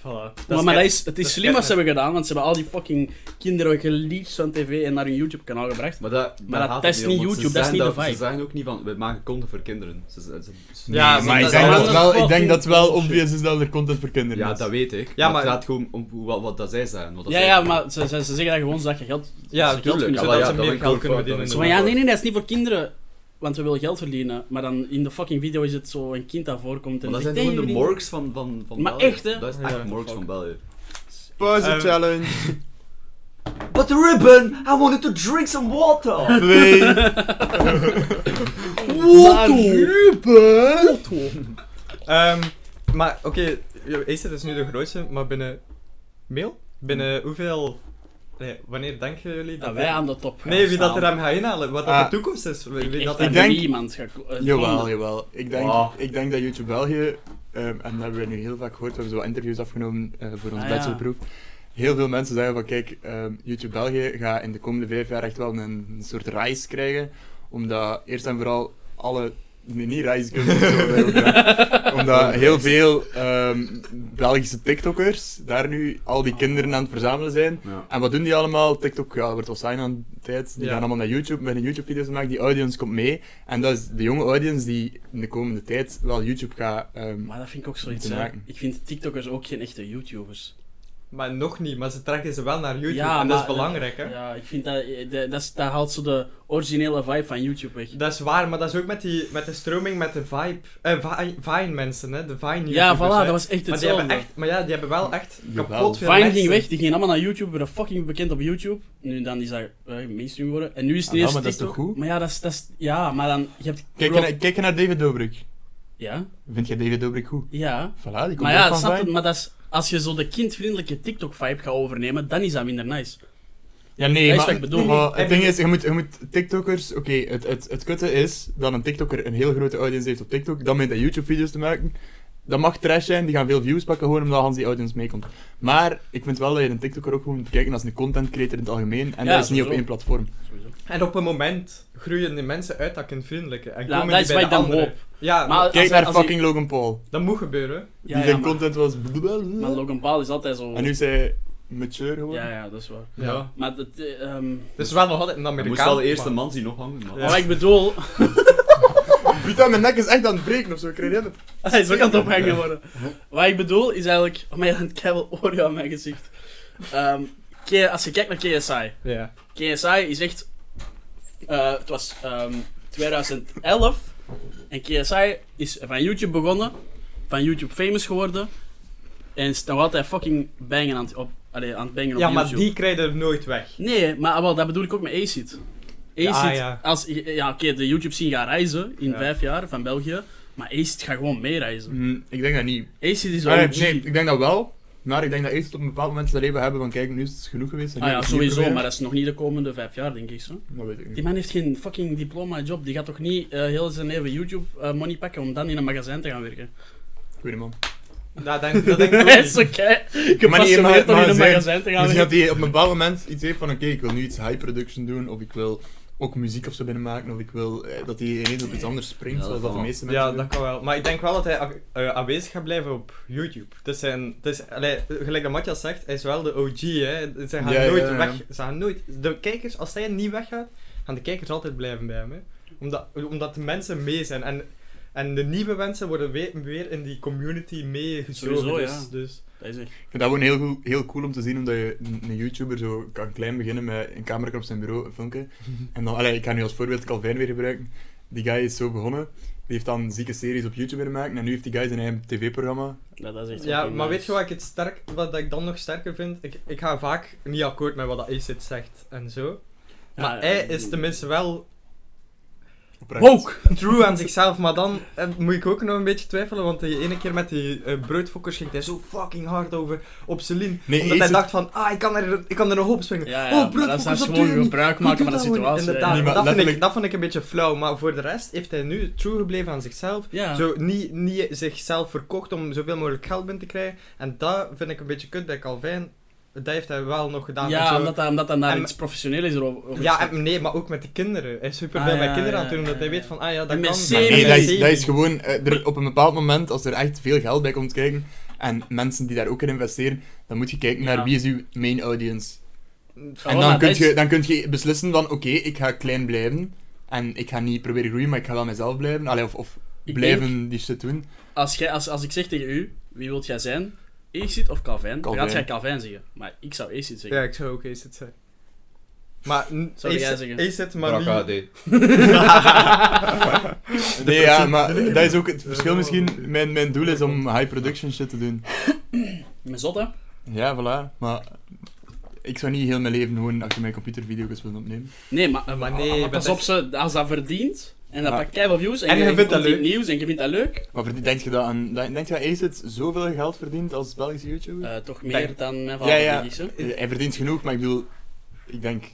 Speaker 2: Voilà. Dat
Speaker 1: maar maar dat
Speaker 2: echt-
Speaker 1: is, het
Speaker 2: dat
Speaker 1: is
Speaker 2: is
Speaker 1: slim wat
Speaker 2: echt-
Speaker 1: ze hebben gedaan, want ze hebben al die fucking kinderen geleased van tv en naar hun YouTube-kanaal gebracht.
Speaker 3: Maar dat,
Speaker 1: Maar
Speaker 3: daar
Speaker 1: dat
Speaker 3: gaat het
Speaker 1: is
Speaker 3: om,
Speaker 1: niet
Speaker 3: want ze
Speaker 1: YouTube, dat is
Speaker 3: zeggen
Speaker 1: niet de
Speaker 3: Ze
Speaker 1: vibe.
Speaker 3: zeggen ook niet van, we maken content voor kinderen. Ze- ze- ze-
Speaker 2: Ja,
Speaker 4: maar ik
Speaker 2: dat-
Speaker 4: denk
Speaker 2: dat-
Speaker 4: dat,
Speaker 1: dat-
Speaker 4: wel, ik
Speaker 1: dat-
Speaker 4: denk dat het wel obvious is dat er content voor kinderen
Speaker 3: ja,
Speaker 4: is.
Speaker 3: dat weet ik.
Speaker 2: Ja,
Speaker 3: maar,
Speaker 2: maar-
Speaker 3: het gaat gewoon om hoe- wat, wat dat zij zeggen. Wat dat
Speaker 1: Ja,
Speaker 3: zij-
Speaker 1: ja, maar ze, ze, ze zeggen dat gewoon zodat je geld,
Speaker 2: Ja,
Speaker 1: ze geld
Speaker 2: tuurlijk.
Speaker 1: kunnen
Speaker 2: Zodat
Speaker 3: wel,
Speaker 1: verdienen.
Speaker 3: ja,
Speaker 2: ze
Speaker 3: dat
Speaker 2: meer
Speaker 3: ben ik
Speaker 2: geld
Speaker 3: ook
Speaker 2: kunnen
Speaker 3: voor,
Speaker 2: verdienen.
Speaker 3: dat ben ik
Speaker 1: Zo
Speaker 3: ook
Speaker 1: van,
Speaker 2: inderdaad.
Speaker 1: ja, nee, nee, dat is niet voor kinderen, want we willen geld verdienen. Maar dan in de fucking video is het zo een kind dat voorkomt en
Speaker 3: Want dat
Speaker 1: zegt,
Speaker 3: zijn gewoon
Speaker 1: "Hey,
Speaker 3: de
Speaker 1: jullie-
Speaker 3: morgs van, van, van
Speaker 1: Maar
Speaker 3: België.
Speaker 1: echt, hè?
Speaker 3: Dat is
Speaker 2: Ja,
Speaker 3: echt
Speaker 2: what the
Speaker 3: morgs
Speaker 2: fuck.
Speaker 3: van België.
Speaker 4: Pauze
Speaker 2: Eh,
Speaker 4: challenge.
Speaker 3: But the ribbon, I wanted to drink some water!
Speaker 4: Twee.
Speaker 1: Wat doe-
Speaker 4: Ruben!
Speaker 1: wat doe-
Speaker 2: Ehm, maar oké, Acer is nu de grootste, maar binnen mail? Binnen hoeveel... Nee, wanneer denken jullie dat...
Speaker 1: Dat Mm. wij
Speaker 2: dit-
Speaker 1: aan de top gaan
Speaker 2: Nee, wie dat er
Speaker 1: staan.
Speaker 2: hem gaat inhalen, wat dat
Speaker 4: Ah.
Speaker 2: de toekomst is. Wie, wie
Speaker 1: Ik
Speaker 2: dat
Speaker 1: dat
Speaker 2: hem...
Speaker 4: denk-
Speaker 1: niemand gaat... ko- eh,
Speaker 4: Jawel,
Speaker 1: gewoon-
Speaker 4: jawel. Ik denk,
Speaker 3: Wow.
Speaker 4: ik denk dat YouTube België, ehm, en dat hebben we nu heel vaak gehoord, we hebben zo wat interviews afgenomen eh, voor ons
Speaker 1: Ah, ja.
Speaker 4: bachelorproef. Heel veel mensen zeggen van, kijk, ehm, YouTube België gaat in de komende vijf jaar echt wel een, een soort rise krijgen, omdat eerst en vooral alle... Nee, niet rise kunnen we zo bij elkaar. Omdat heel veel ehm, Belgische TikTokkers daar nu al die kinderen aan het verzamelen zijn.
Speaker 3: Ja.
Speaker 4: En wat doen die allemaal? TikTok, ja, dat wordt al zijn aan de tijd. Die
Speaker 2: Ja.
Speaker 4: gaan allemaal naar YouTube, beginnen YouTube-video's te maken. Die audience komt mee. En dat is de jonge audience die in de komende tijd wel YouTube gaat... ehm,
Speaker 1: Maar dat vind ik ook zoiets,
Speaker 4: Moeten
Speaker 1: hè.
Speaker 4: maken.
Speaker 1: Ik vind TikTokkers ook geen echte YouTubers.
Speaker 2: Maar nog niet, maar ze trekken ze wel naar YouTube
Speaker 1: Ja,
Speaker 2: en dat is
Speaker 1: maar-
Speaker 2: belangrijk hè.
Speaker 1: Ja, ik vind dat... eh, de- Dat is- dat haalt zo de originele vibe van YouTube weg.
Speaker 2: Dat is waar, maar dat is ook met, die, met de stroming, met de vibe. Eh, Vi- Vine mensen hè, de Vine
Speaker 1: Ja,
Speaker 2: YouTubers.
Speaker 1: voilà,
Speaker 2: hè.
Speaker 1: dat was echt
Speaker 2: maar die hebben
Speaker 1: hetzelfde.
Speaker 2: echt, Maar ja, die hebben wel echt
Speaker 4: Jawel.
Speaker 2: kapot veel
Speaker 1: Vine
Speaker 2: mensen.
Speaker 1: ging weg, die ging allemaal naar YouTube, werden fucking bekend op YouTube. Nu dan is dat eh, mainstream geworden. En nu is het
Speaker 4: Ah, wel,
Speaker 1: eerst
Speaker 4: maar dat is
Speaker 1: TikTok.
Speaker 4: toch goed?
Speaker 1: Maar ja, dat is, dat is- ja, maar dan, je hebt...
Speaker 4: kijk, je naar, kijk je naar David Dobrik.
Speaker 1: Ja,
Speaker 4: Vind jij David Dobrik goed?
Speaker 1: ja.
Speaker 4: Voilà, die komt
Speaker 1: Maar
Speaker 4: ook
Speaker 1: ja,
Speaker 4: van
Speaker 1: snap
Speaker 4: Vine.
Speaker 1: het, maar dat is, als je zo de kindvriendelijke TikTok-vibe gaat overnemen, dan is dat minder nice.
Speaker 4: Ja, nee,
Speaker 1: Dat is
Speaker 4: maar,
Speaker 1: wat ik bedoel.
Speaker 4: maar
Speaker 2: En
Speaker 4: het ding
Speaker 2: die-
Speaker 4: is, je moet, je moet TikTokkers... Oké, het, het, het kutte is dat een TikToker een heel grote audience heeft op TikTok. Dan begint hij YouTube-video's te maken. Dat mag trash zijn, die gaan veel views pakken gewoon omdat Hans die audience meekomt. Maar ik vind wel dat je een TikToker ook gewoon moet bekijken als een content creator in het algemeen. En
Speaker 1: Ja,
Speaker 4: dat is niet op
Speaker 1: sowieso.
Speaker 4: één platform.
Speaker 1: Sowieso.
Speaker 2: En op een moment groeien die mensen uit dat kindvriendelijke. En
Speaker 1: Ja,
Speaker 2: komen die
Speaker 1: dat is
Speaker 2: bij
Speaker 1: wat
Speaker 2: de
Speaker 1: ik dan
Speaker 2: anderen.
Speaker 1: hoop.
Speaker 2: Ja,
Speaker 1: Maar
Speaker 2: maar
Speaker 1: als-
Speaker 4: Kijk
Speaker 1: als-
Speaker 4: naar
Speaker 1: als
Speaker 4: fucking Logan Paul.
Speaker 2: dat moet gebeuren.
Speaker 1: Ja,
Speaker 4: die
Speaker 1: ja,
Speaker 4: zijn
Speaker 1: maar,
Speaker 4: content was...
Speaker 1: maar Logan Paul is altijd zo...
Speaker 4: En nu is hij mature geworden.
Speaker 1: Ja, ja, dat is waar.
Speaker 2: Ja.
Speaker 1: Maar dat... eh, ehm,
Speaker 2: Dus wel nog altijd een
Speaker 3: Je
Speaker 2: Amerikaan.
Speaker 3: moest wel eerst een
Speaker 2: maar-
Speaker 3: man zien ophangen.
Speaker 2: Ja.
Speaker 3: man.
Speaker 1: maar wat ik bedoel...
Speaker 4: Putain, mijn nek is echt aan het breken of zo. Ik krijg het.
Speaker 1: Hij is ook aan het ophangen worden. Wat ik bedoel is eigenlijk... Oh, maar je hebt keihard oren aan mijn gezicht. Ehm, K- als je kijkt naar KSI...
Speaker 2: Ja.
Speaker 1: KSI is echt. eh, het was ehm, 2011 en KSI is van YouTube begonnen, van YouTube famous geworden en is nog altijd fucking bangen aan het, op, allee, aan het bangen
Speaker 2: ja,
Speaker 1: op
Speaker 2: maar
Speaker 1: YouTube.
Speaker 2: die krijgen er nooit weg.
Speaker 1: Nee, maar ah, wel, dat bedoel ik ook met ACID. ACID,
Speaker 2: Ja, ah, ja.
Speaker 1: als ja, oké, de YouTube scene gaat reizen in
Speaker 2: Ja.
Speaker 1: vijf jaar van België, maar ACID gaat gewoon mee reizen.
Speaker 4: Mm, ik denk dat niet.
Speaker 1: ACID is wel
Speaker 4: Ah, nee,
Speaker 1: OG.
Speaker 4: nee, ik denk dat wel. Maar ik denk dat eerst op een bepaald moment ze leven hebben van kijk, nu is het genoeg geweest. en nu
Speaker 1: Ah ja,
Speaker 4: gaan we het opnieuw
Speaker 1: sowieso, maar
Speaker 4: proberen.
Speaker 1: dat is nog niet de komende vijf jaar, denk ik zo.
Speaker 4: Dat weet ik niet.
Speaker 1: Die man heeft geen fucking diploma job. Die gaat toch niet eh, heel zijn leven YouTube eh, money pakken om dan in een magazijn te gaan werken.
Speaker 4: Goeie man.
Speaker 2: Dat denk, dat denk ik ook
Speaker 1: Dat is
Speaker 2: niet.
Speaker 1: oké.
Speaker 4: maar niet in
Speaker 1: Gepassioneerd om in een
Speaker 4: magazijn.
Speaker 1: magazijn te gaan
Speaker 2: Dus
Speaker 4: Misschien dat
Speaker 1: werken.
Speaker 4: hij op een bepaald moment iets heeft van oké, ik wil nu iets high production doen. Of ik wil ook muziek of zo binnenmaken. Of ik wil eh, dat hij ineens op iets anders springt.
Speaker 3: Ja, dat
Speaker 4: zoals dat de
Speaker 3: kan.
Speaker 4: meeste mensen
Speaker 2: Ja,
Speaker 4: doen.
Speaker 2: dat kan wel. Maar ik denk wel dat hij a- eh, aanwezig gaat blijven op YouTube. Dus zijn, dus, allee, gelijk dat Matthias zegt, hij is wel de OG. Hè. Ze gaan
Speaker 4: Ja, ja,
Speaker 2: nooit
Speaker 4: ja.
Speaker 2: weg. Ze gaan nooit. De kijkers, als hij niet weggaat, gaan de kijkers altijd blijven bij hem. Hè. Omdat, omdat de mensen mee zijn. En, en de nieuwe mensen worden weer, weer in die community meegezogen.
Speaker 1: Sowieso,
Speaker 2: dus,
Speaker 1: ja.
Speaker 2: dus
Speaker 1: Dat is echt.
Speaker 4: Ik vind dat gewoon heel, goed- heel cool om te zien, omdat je een een YouTuber zo kan klein beginnen met een camera op zijn bureau, een filmpje. En dan, allee, ik ga nu als voorbeeld Calvin weer gebruiken. Die guy is zo begonnen. Die heeft dan zieke series op YouTube willen maken en nu heeft die guy zijn eigen tv-programma.
Speaker 1: Ja, dat is echt
Speaker 2: Ja,
Speaker 1: fucking
Speaker 2: maar
Speaker 1: nice.
Speaker 2: weet je wat ik, het sterk, wat ik dan nog sterker vind? Ik, ik ga vaak niet akkoord met wat dat Acid zegt en zo.
Speaker 1: Ja, eh,
Speaker 2: Maar
Speaker 1: ja,
Speaker 2: hij
Speaker 1: ik-
Speaker 2: is tenminste wel
Speaker 4: Oprecht.
Speaker 1: Woke!
Speaker 2: true aan zichzelf, maar dan eh, moet ik ook nog een beetje twijfelen, want die ene keer met die eh broodfokkers ging hij zo fucking hard over op Celine.
Speaker 4: Nee,
Speaker 2: omdat hij
Speaker 4: Acid-
Speaker 2: dacht van, ah, ik kan er, ik kan er nog op springen.
Speaker 1: Ja, eh, ja,
Speaker 2: oh,
Speaker 1: maar dat is
Speaker 2: broodfokkers,
Speaker 1: als
Speaker 2: dat
Speaker 1: gewoon
Speaker 2: doe je niet.
Speaker 1: gebruik
Speaker 2: Hoe
Speaker 1: maken
Speaker 2: doe
Speaker 1: van de
Speaker 2: dat gewoon?
Speaker 1: situatie.
Speaker 2: Inderdaad,
Speaker 4: Nee, maar
Speaker 2: dat, vind ik,
Speaker 4: letterlijk-
Speaker 2: dat vind ik een beetje flauw, maar voor de rest heeft hij nu true gebleven aan zichzelf.
Speaker 1: Ja.
Speaker 2: Zo niet, niet zichzelf verkocht om zoveel mogelijk geld binnen te krijgen. En dat vind ik een beetje kut bij Calvin. Dat heeft hij wel nog gedaan. en
Speaker 1: Ja,
Speaker 2: zo.
Speaker 1: omdat dat, omdat dat naar
Speaker 2: En-
Speaker 1: iets professioneel is. erover- over
Speaker 2: ja
Speaker 1: gestapt.
Speaker 2: en nee, maar ook met de kinderen. Hij is superveel
Speaker 1: Ah,
Speaker 2: bij
Speaker 1: ja,
Speaker 2: kinderen
Speaker 1: ja,
Speaker 2: aan het doen, omdat
Speaker 1: ja,
Speaker 2: hij
Speaker 1: ja.
Speaker 2: weet van, ah ja, dat
Speaker 1: En
Speaker 2: kan.
Speaker 1: met
Speaker 2: Maar
Speaker 1: serie.
Speaker 4: Nee, dat is,
Speaker 2: serie.
Speaker 4: dat is gewoon, eh, er, op een bepaald moment, als er echt veel geld bij komt kijken, en mensen die daar ook in investeren, dan moet je kijken
Speaker 1: Ja.
Speaker 4: naar wie is uw main audience.
Speaker 1: Ja,
Speaker 4: En
Speaker 1: Oh, maar
Speaker 4: dan kun,
Speaker 1: dat
Speaker 4: je,
Speaker 1: is-
Speaker 4: dan kun je beslissen van, oké, ik ga klein blijven. En ik ga niet proberen groeien, maar ik ga wel mezelf blijven. Allee, of, of
Speaker 1: Ik
Speaker 4: blijven
Speaker 1: denk,
Speaker 4: die shit doen.
Speaker 1: als, jij, als, als ik zeg tegen u, wie wilt jij zijn? Acid of Calvin? Dan
Speaker 4: Calvin.
Speaker 1: gaat jij Calvin zeggen. Maar ik zou Acid zeggen.
Speaker 2: Ja, ik zou ook ACID zeggen. Maar
Speaker 1: Zou jij zeggen?
Speaker 2: ACID, maar niet...
Speaker 3: Brakade.
Speaker 4: Nee, ja, maar dat is ook het verschil misschien. Mijn, mijn doel is om high production shit te doen.
Speaker 1: Mijn zot, hè?
Speaker 4: Ja, voilà. Maar ik zou niet heel mijn leven gewoon achter mijn computer video's willen opnemen.
Speaker 1: Nee, maar, eh,
Speaker 2: Maar
Speaker 1: maar
Speaker 2: nee, maar
Speaker 1: pas
Speaker 2: dat
Speaker 1: op, ze, als dat verdient, en dat
Speaker 4: Ja.
Speaker 1: pakt keiveel views, en,
Speaker 2: En je vindt
Speaker 1: komt
Speaker 2: dat
Speaker 1: in het
Speaker 2: leuk.
Speaker 1: nieuws, en je vindt dat leuk,
Speaker 4: Maar verdien- denk je dat, aan, denk je dat Acid zoveel geld verdient als Belgische YouTuber?
Speaker 1: eh, toch meer
Speaker 2: Denk-
Speaker 1: dan mijn
Speaker 4: Ja,
Speaker 1: vader,
Speaker 4: ja.
Speaker 1: denk ik, zo.
Speaker 4: Hij verdient genoeg, maar ik bedoel, ik denk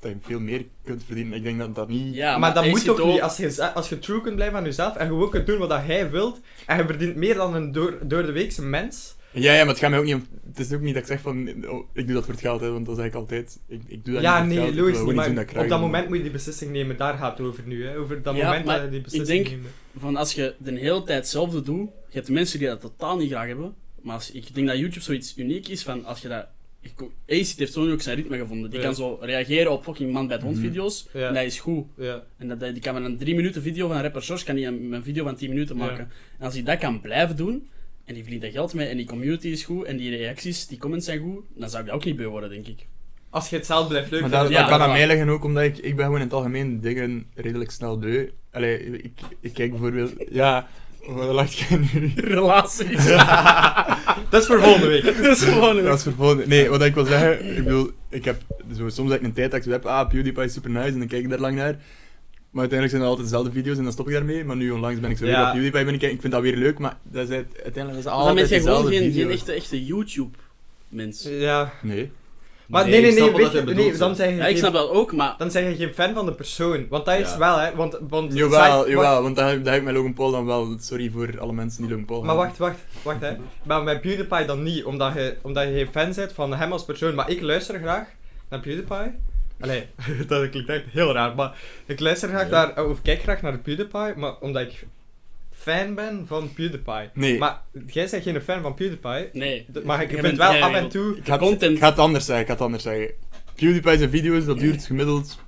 Speaker 4: dat je veel meer kunt verdienen. Ik denk dat dat niet...
Speaker 1: Ja,
Speaker 2: maar, dat moet
Speaker 1: Acid
Speaker 2: toch
Speaker 1: ook-
Speaker 2: niet, als je, z- als je true kunt blijven aan jezelf en je ook kunt doen wat dat hij wilt, en je verdient meer dan een door, door de weekse mens,
Speaker 4: Ja, ja, maar het gaat mij ook niet om... Het is ook niet dat ik zeg van, oh, ik doe dat voor het geld, hè, want dat zeg ik altijd. Ik, ik doe dat niet
Speaker 2: ja,
Speaker 4: voor het
Speaker 2: nee,
Speaker 4: geld. ik wil
Speaker 2: logisch
Speaker 4: gewoon
Speaker 2: niet,
Speaker 4: iets
Speaker 2: maar
Speaker 4: doen ik
Speaker 2: op
Speaker 4: krijg.
Speaker 2: dat moment moet je die beslissing nemen, daar gaat het over nu, hè. over dat
Speaker 1: Ja,
Speaker 2: moment
Speaker 1: maar
Speaker 2: dat je die
Speaker 1: ik
Speaker 2: beslissing
Speaker 1: denk-
Speaker 2: neemt.
Speaker 1: van als je de hele tijd hetzelfde doet, je hebt mensen die dat totaal niet graag hebben, maar als, ik denk dat YouTube zoiets uniek is van als je dat... ik ko- Acid heeft zo nu ook zijn ritme gevonden. Die
Speaker 2: Ja.
Speaker 1: kan zo reageren op fucking man bij het
Speaker 4: Mhm.
Speaker 1: hond video's.
Speaker 2: Ja.
Speaker 1: En dat is goed.
Speaker 2: Ja.
Speaker 1: En dat, dat- die kan met een 3 minuten video van rapper George, kan die een, een video van 10 minuten
Speaker 2: Ja.
Speaker 1: maken. En als hij dat kan blijven doen, en die verdient er geld mee, en die community is goed, en die reacties, die comments zijn goed, dan zou ik dat ook niet beu worden, denk ik.
Speaker 2: Als je het zelf blijft leuk
Speaker 4: Maar dat,
Speaker 1: Ja,
Speaker 4: dat kan
Speaker 1: dat
Speaker 4: aan mij liggen ook, omdat ik, ik ben gewoon in het algemeen dingen redelijk snel beu. Allee, ik, ik kijk bijvoorbeeld... Ja, wat lacht jij nu?
Speaker 1: Relaties.
Speaker 2: dat is voor volgende week.
Speaker 1: dat is gewoon...
Speaker 4: Dat is vervolgens... Nee, wat ik wil zeggen, ik bedoel, ik heb zo, soms heb ik een tijd dat ik zo heb, ah, PewDiePie is super nice, en dan kijk ik daar lang naar. Maar uiteindelijk zijn dat altijd dezelfde video's en dan stop ik daarmee. Maar nu onlangs ben ik zo weer
Speaker 2: Ja.
Speaker 4: op PewDiePie ben ik, ik vind dat weer leuk, maar dat is uit- uiteindelijk is het
Speaker 1: Dan ben
Speaker 4: altijd
Speaker 1: je gewoon
Speaker 4: dezelfde
Speaker 1: geen, geen
Speaker 4: video's.
Speaker 1: echte, echte YouTube-mens.
Speaker 2: Ja.
Speaker 4: Nee.
Speaker 2: Maar nee, nee, nee, weet je, nee, dan
Speaker 3: dan
Speaker 2: zijn je
Speaker 1: Ja, ik
Speaker 2: geen-
Speaker 1: snap dat ook, maar
Speaker 2: dan zijn je geen fan van de persoon. Want dat is
Speaker 3: Ja.
Speaker 2: wel, hè. Want, want
Speaker 4: Jawel,
Speaker 2: zij-
Speaker 4: jawel, want daar heb, daar heb ik met Logan Paul dan wel. Sorry voor alle mensen die Logan Paul
Speaker 2: Maar
Speaker 4: haten.
Speaker 2: wacht, wacht, wacht hè. Maar met PewDiePie dan niet, omdat je, omdat je geen fan bent van hem als persoon. Maar ik luister graag naar PewDiePie. Allee, dat klinkt echt heel raar, maar ik luister graag
Speaker 3: Ja.
Speaker 2: naar, of kijk graag naar PewDiePie, maar omdat ik fan ben van PewDiePie.
Speaker 4: Nee.
Speaker 2: Maar jij bent geen fan van PewDiePie,
Speaker 1: nee.
Speaker 2: d- maar ik
Speaker 1: Jij
Speaker 2: vind
Speaker 1: bent-
Speaker 2: wel
Speaker 1: jij
Speaker 2: af en
Speaker 1: wilt-
Speaker 2: toe...
Speaker 4: Ik ga, het,
Speaker 1: Content.
Speaker 4: ik ga het anders zeggen, ik ga het anders zeggen. PewDiePie zijn video's, dat duurt gemiddeld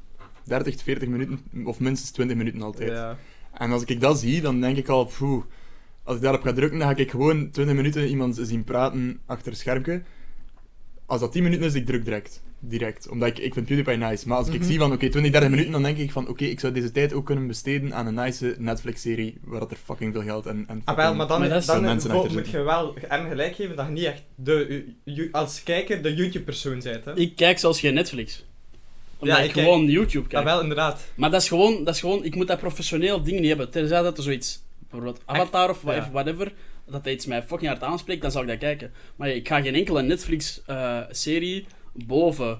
Speaker 4: 30, 40 minuten, of minstens 20 minuten altijd.
Speaker 2: Ja.
Speaker 4: En als ik dat zie, dan denk ik al, poeh, als ik daarop ga drukken, dan ga ik gewoon 20 minuten iemand zien praten achter een schermpje. Als dat 10 minuten is, ik druk direct. Direct. Omdat ik, ik vind PewDiePie nice. Maar als ik
Speaker 2: Mhm.
Speaker 4: zie van, oké, 20, 30 minuten, dan denk ik van, oké, ik zou deze tijd ook kunnen besteden aan een nice Netflix-serie, waar dat er fucking veel geld en... en
Speaker 2: Ah, wel,
Speaker 4: fucking-
Speaker 2: maar dan,
Speaker 1: Maar dat
Speaker 2: dan,
Speaker 1: is-
Speaker 4: Veel mensen
Speaker 2: vo-
Speaker 4: achter
Speaker 2: moet
Speaker 4: zitten.
Speaker 2: je wel hem gelijk geven dat je niet echt de, u- u- als kijker de YouTube-persoon bent, hè.
Speaker 1: Ik kijk zelfs geen Netflix. Omdat
Speaker 2: Ja,
Speaker 1: ik,
Speaker 2: ik kijk-
Speaker 1: gewoon YouTube
Speaker 2: Ah,
Speaker 1: kijk.
Speaker 2: wel, inderdaad.
Speaker 1: Maar dat is, gewoon, dat is gewoon, ik moet dat professioneel ding niet hebben. Terzij dat er zoiets, bijvoorbeeld Avatar of
Speaker 2: ja.
Speaker 1: whatever, whatever, dat hij iets mij fucking hard aanspreekt, dan zou ik dat kijken. Maar ik ga geen enkele Netflix-serie boven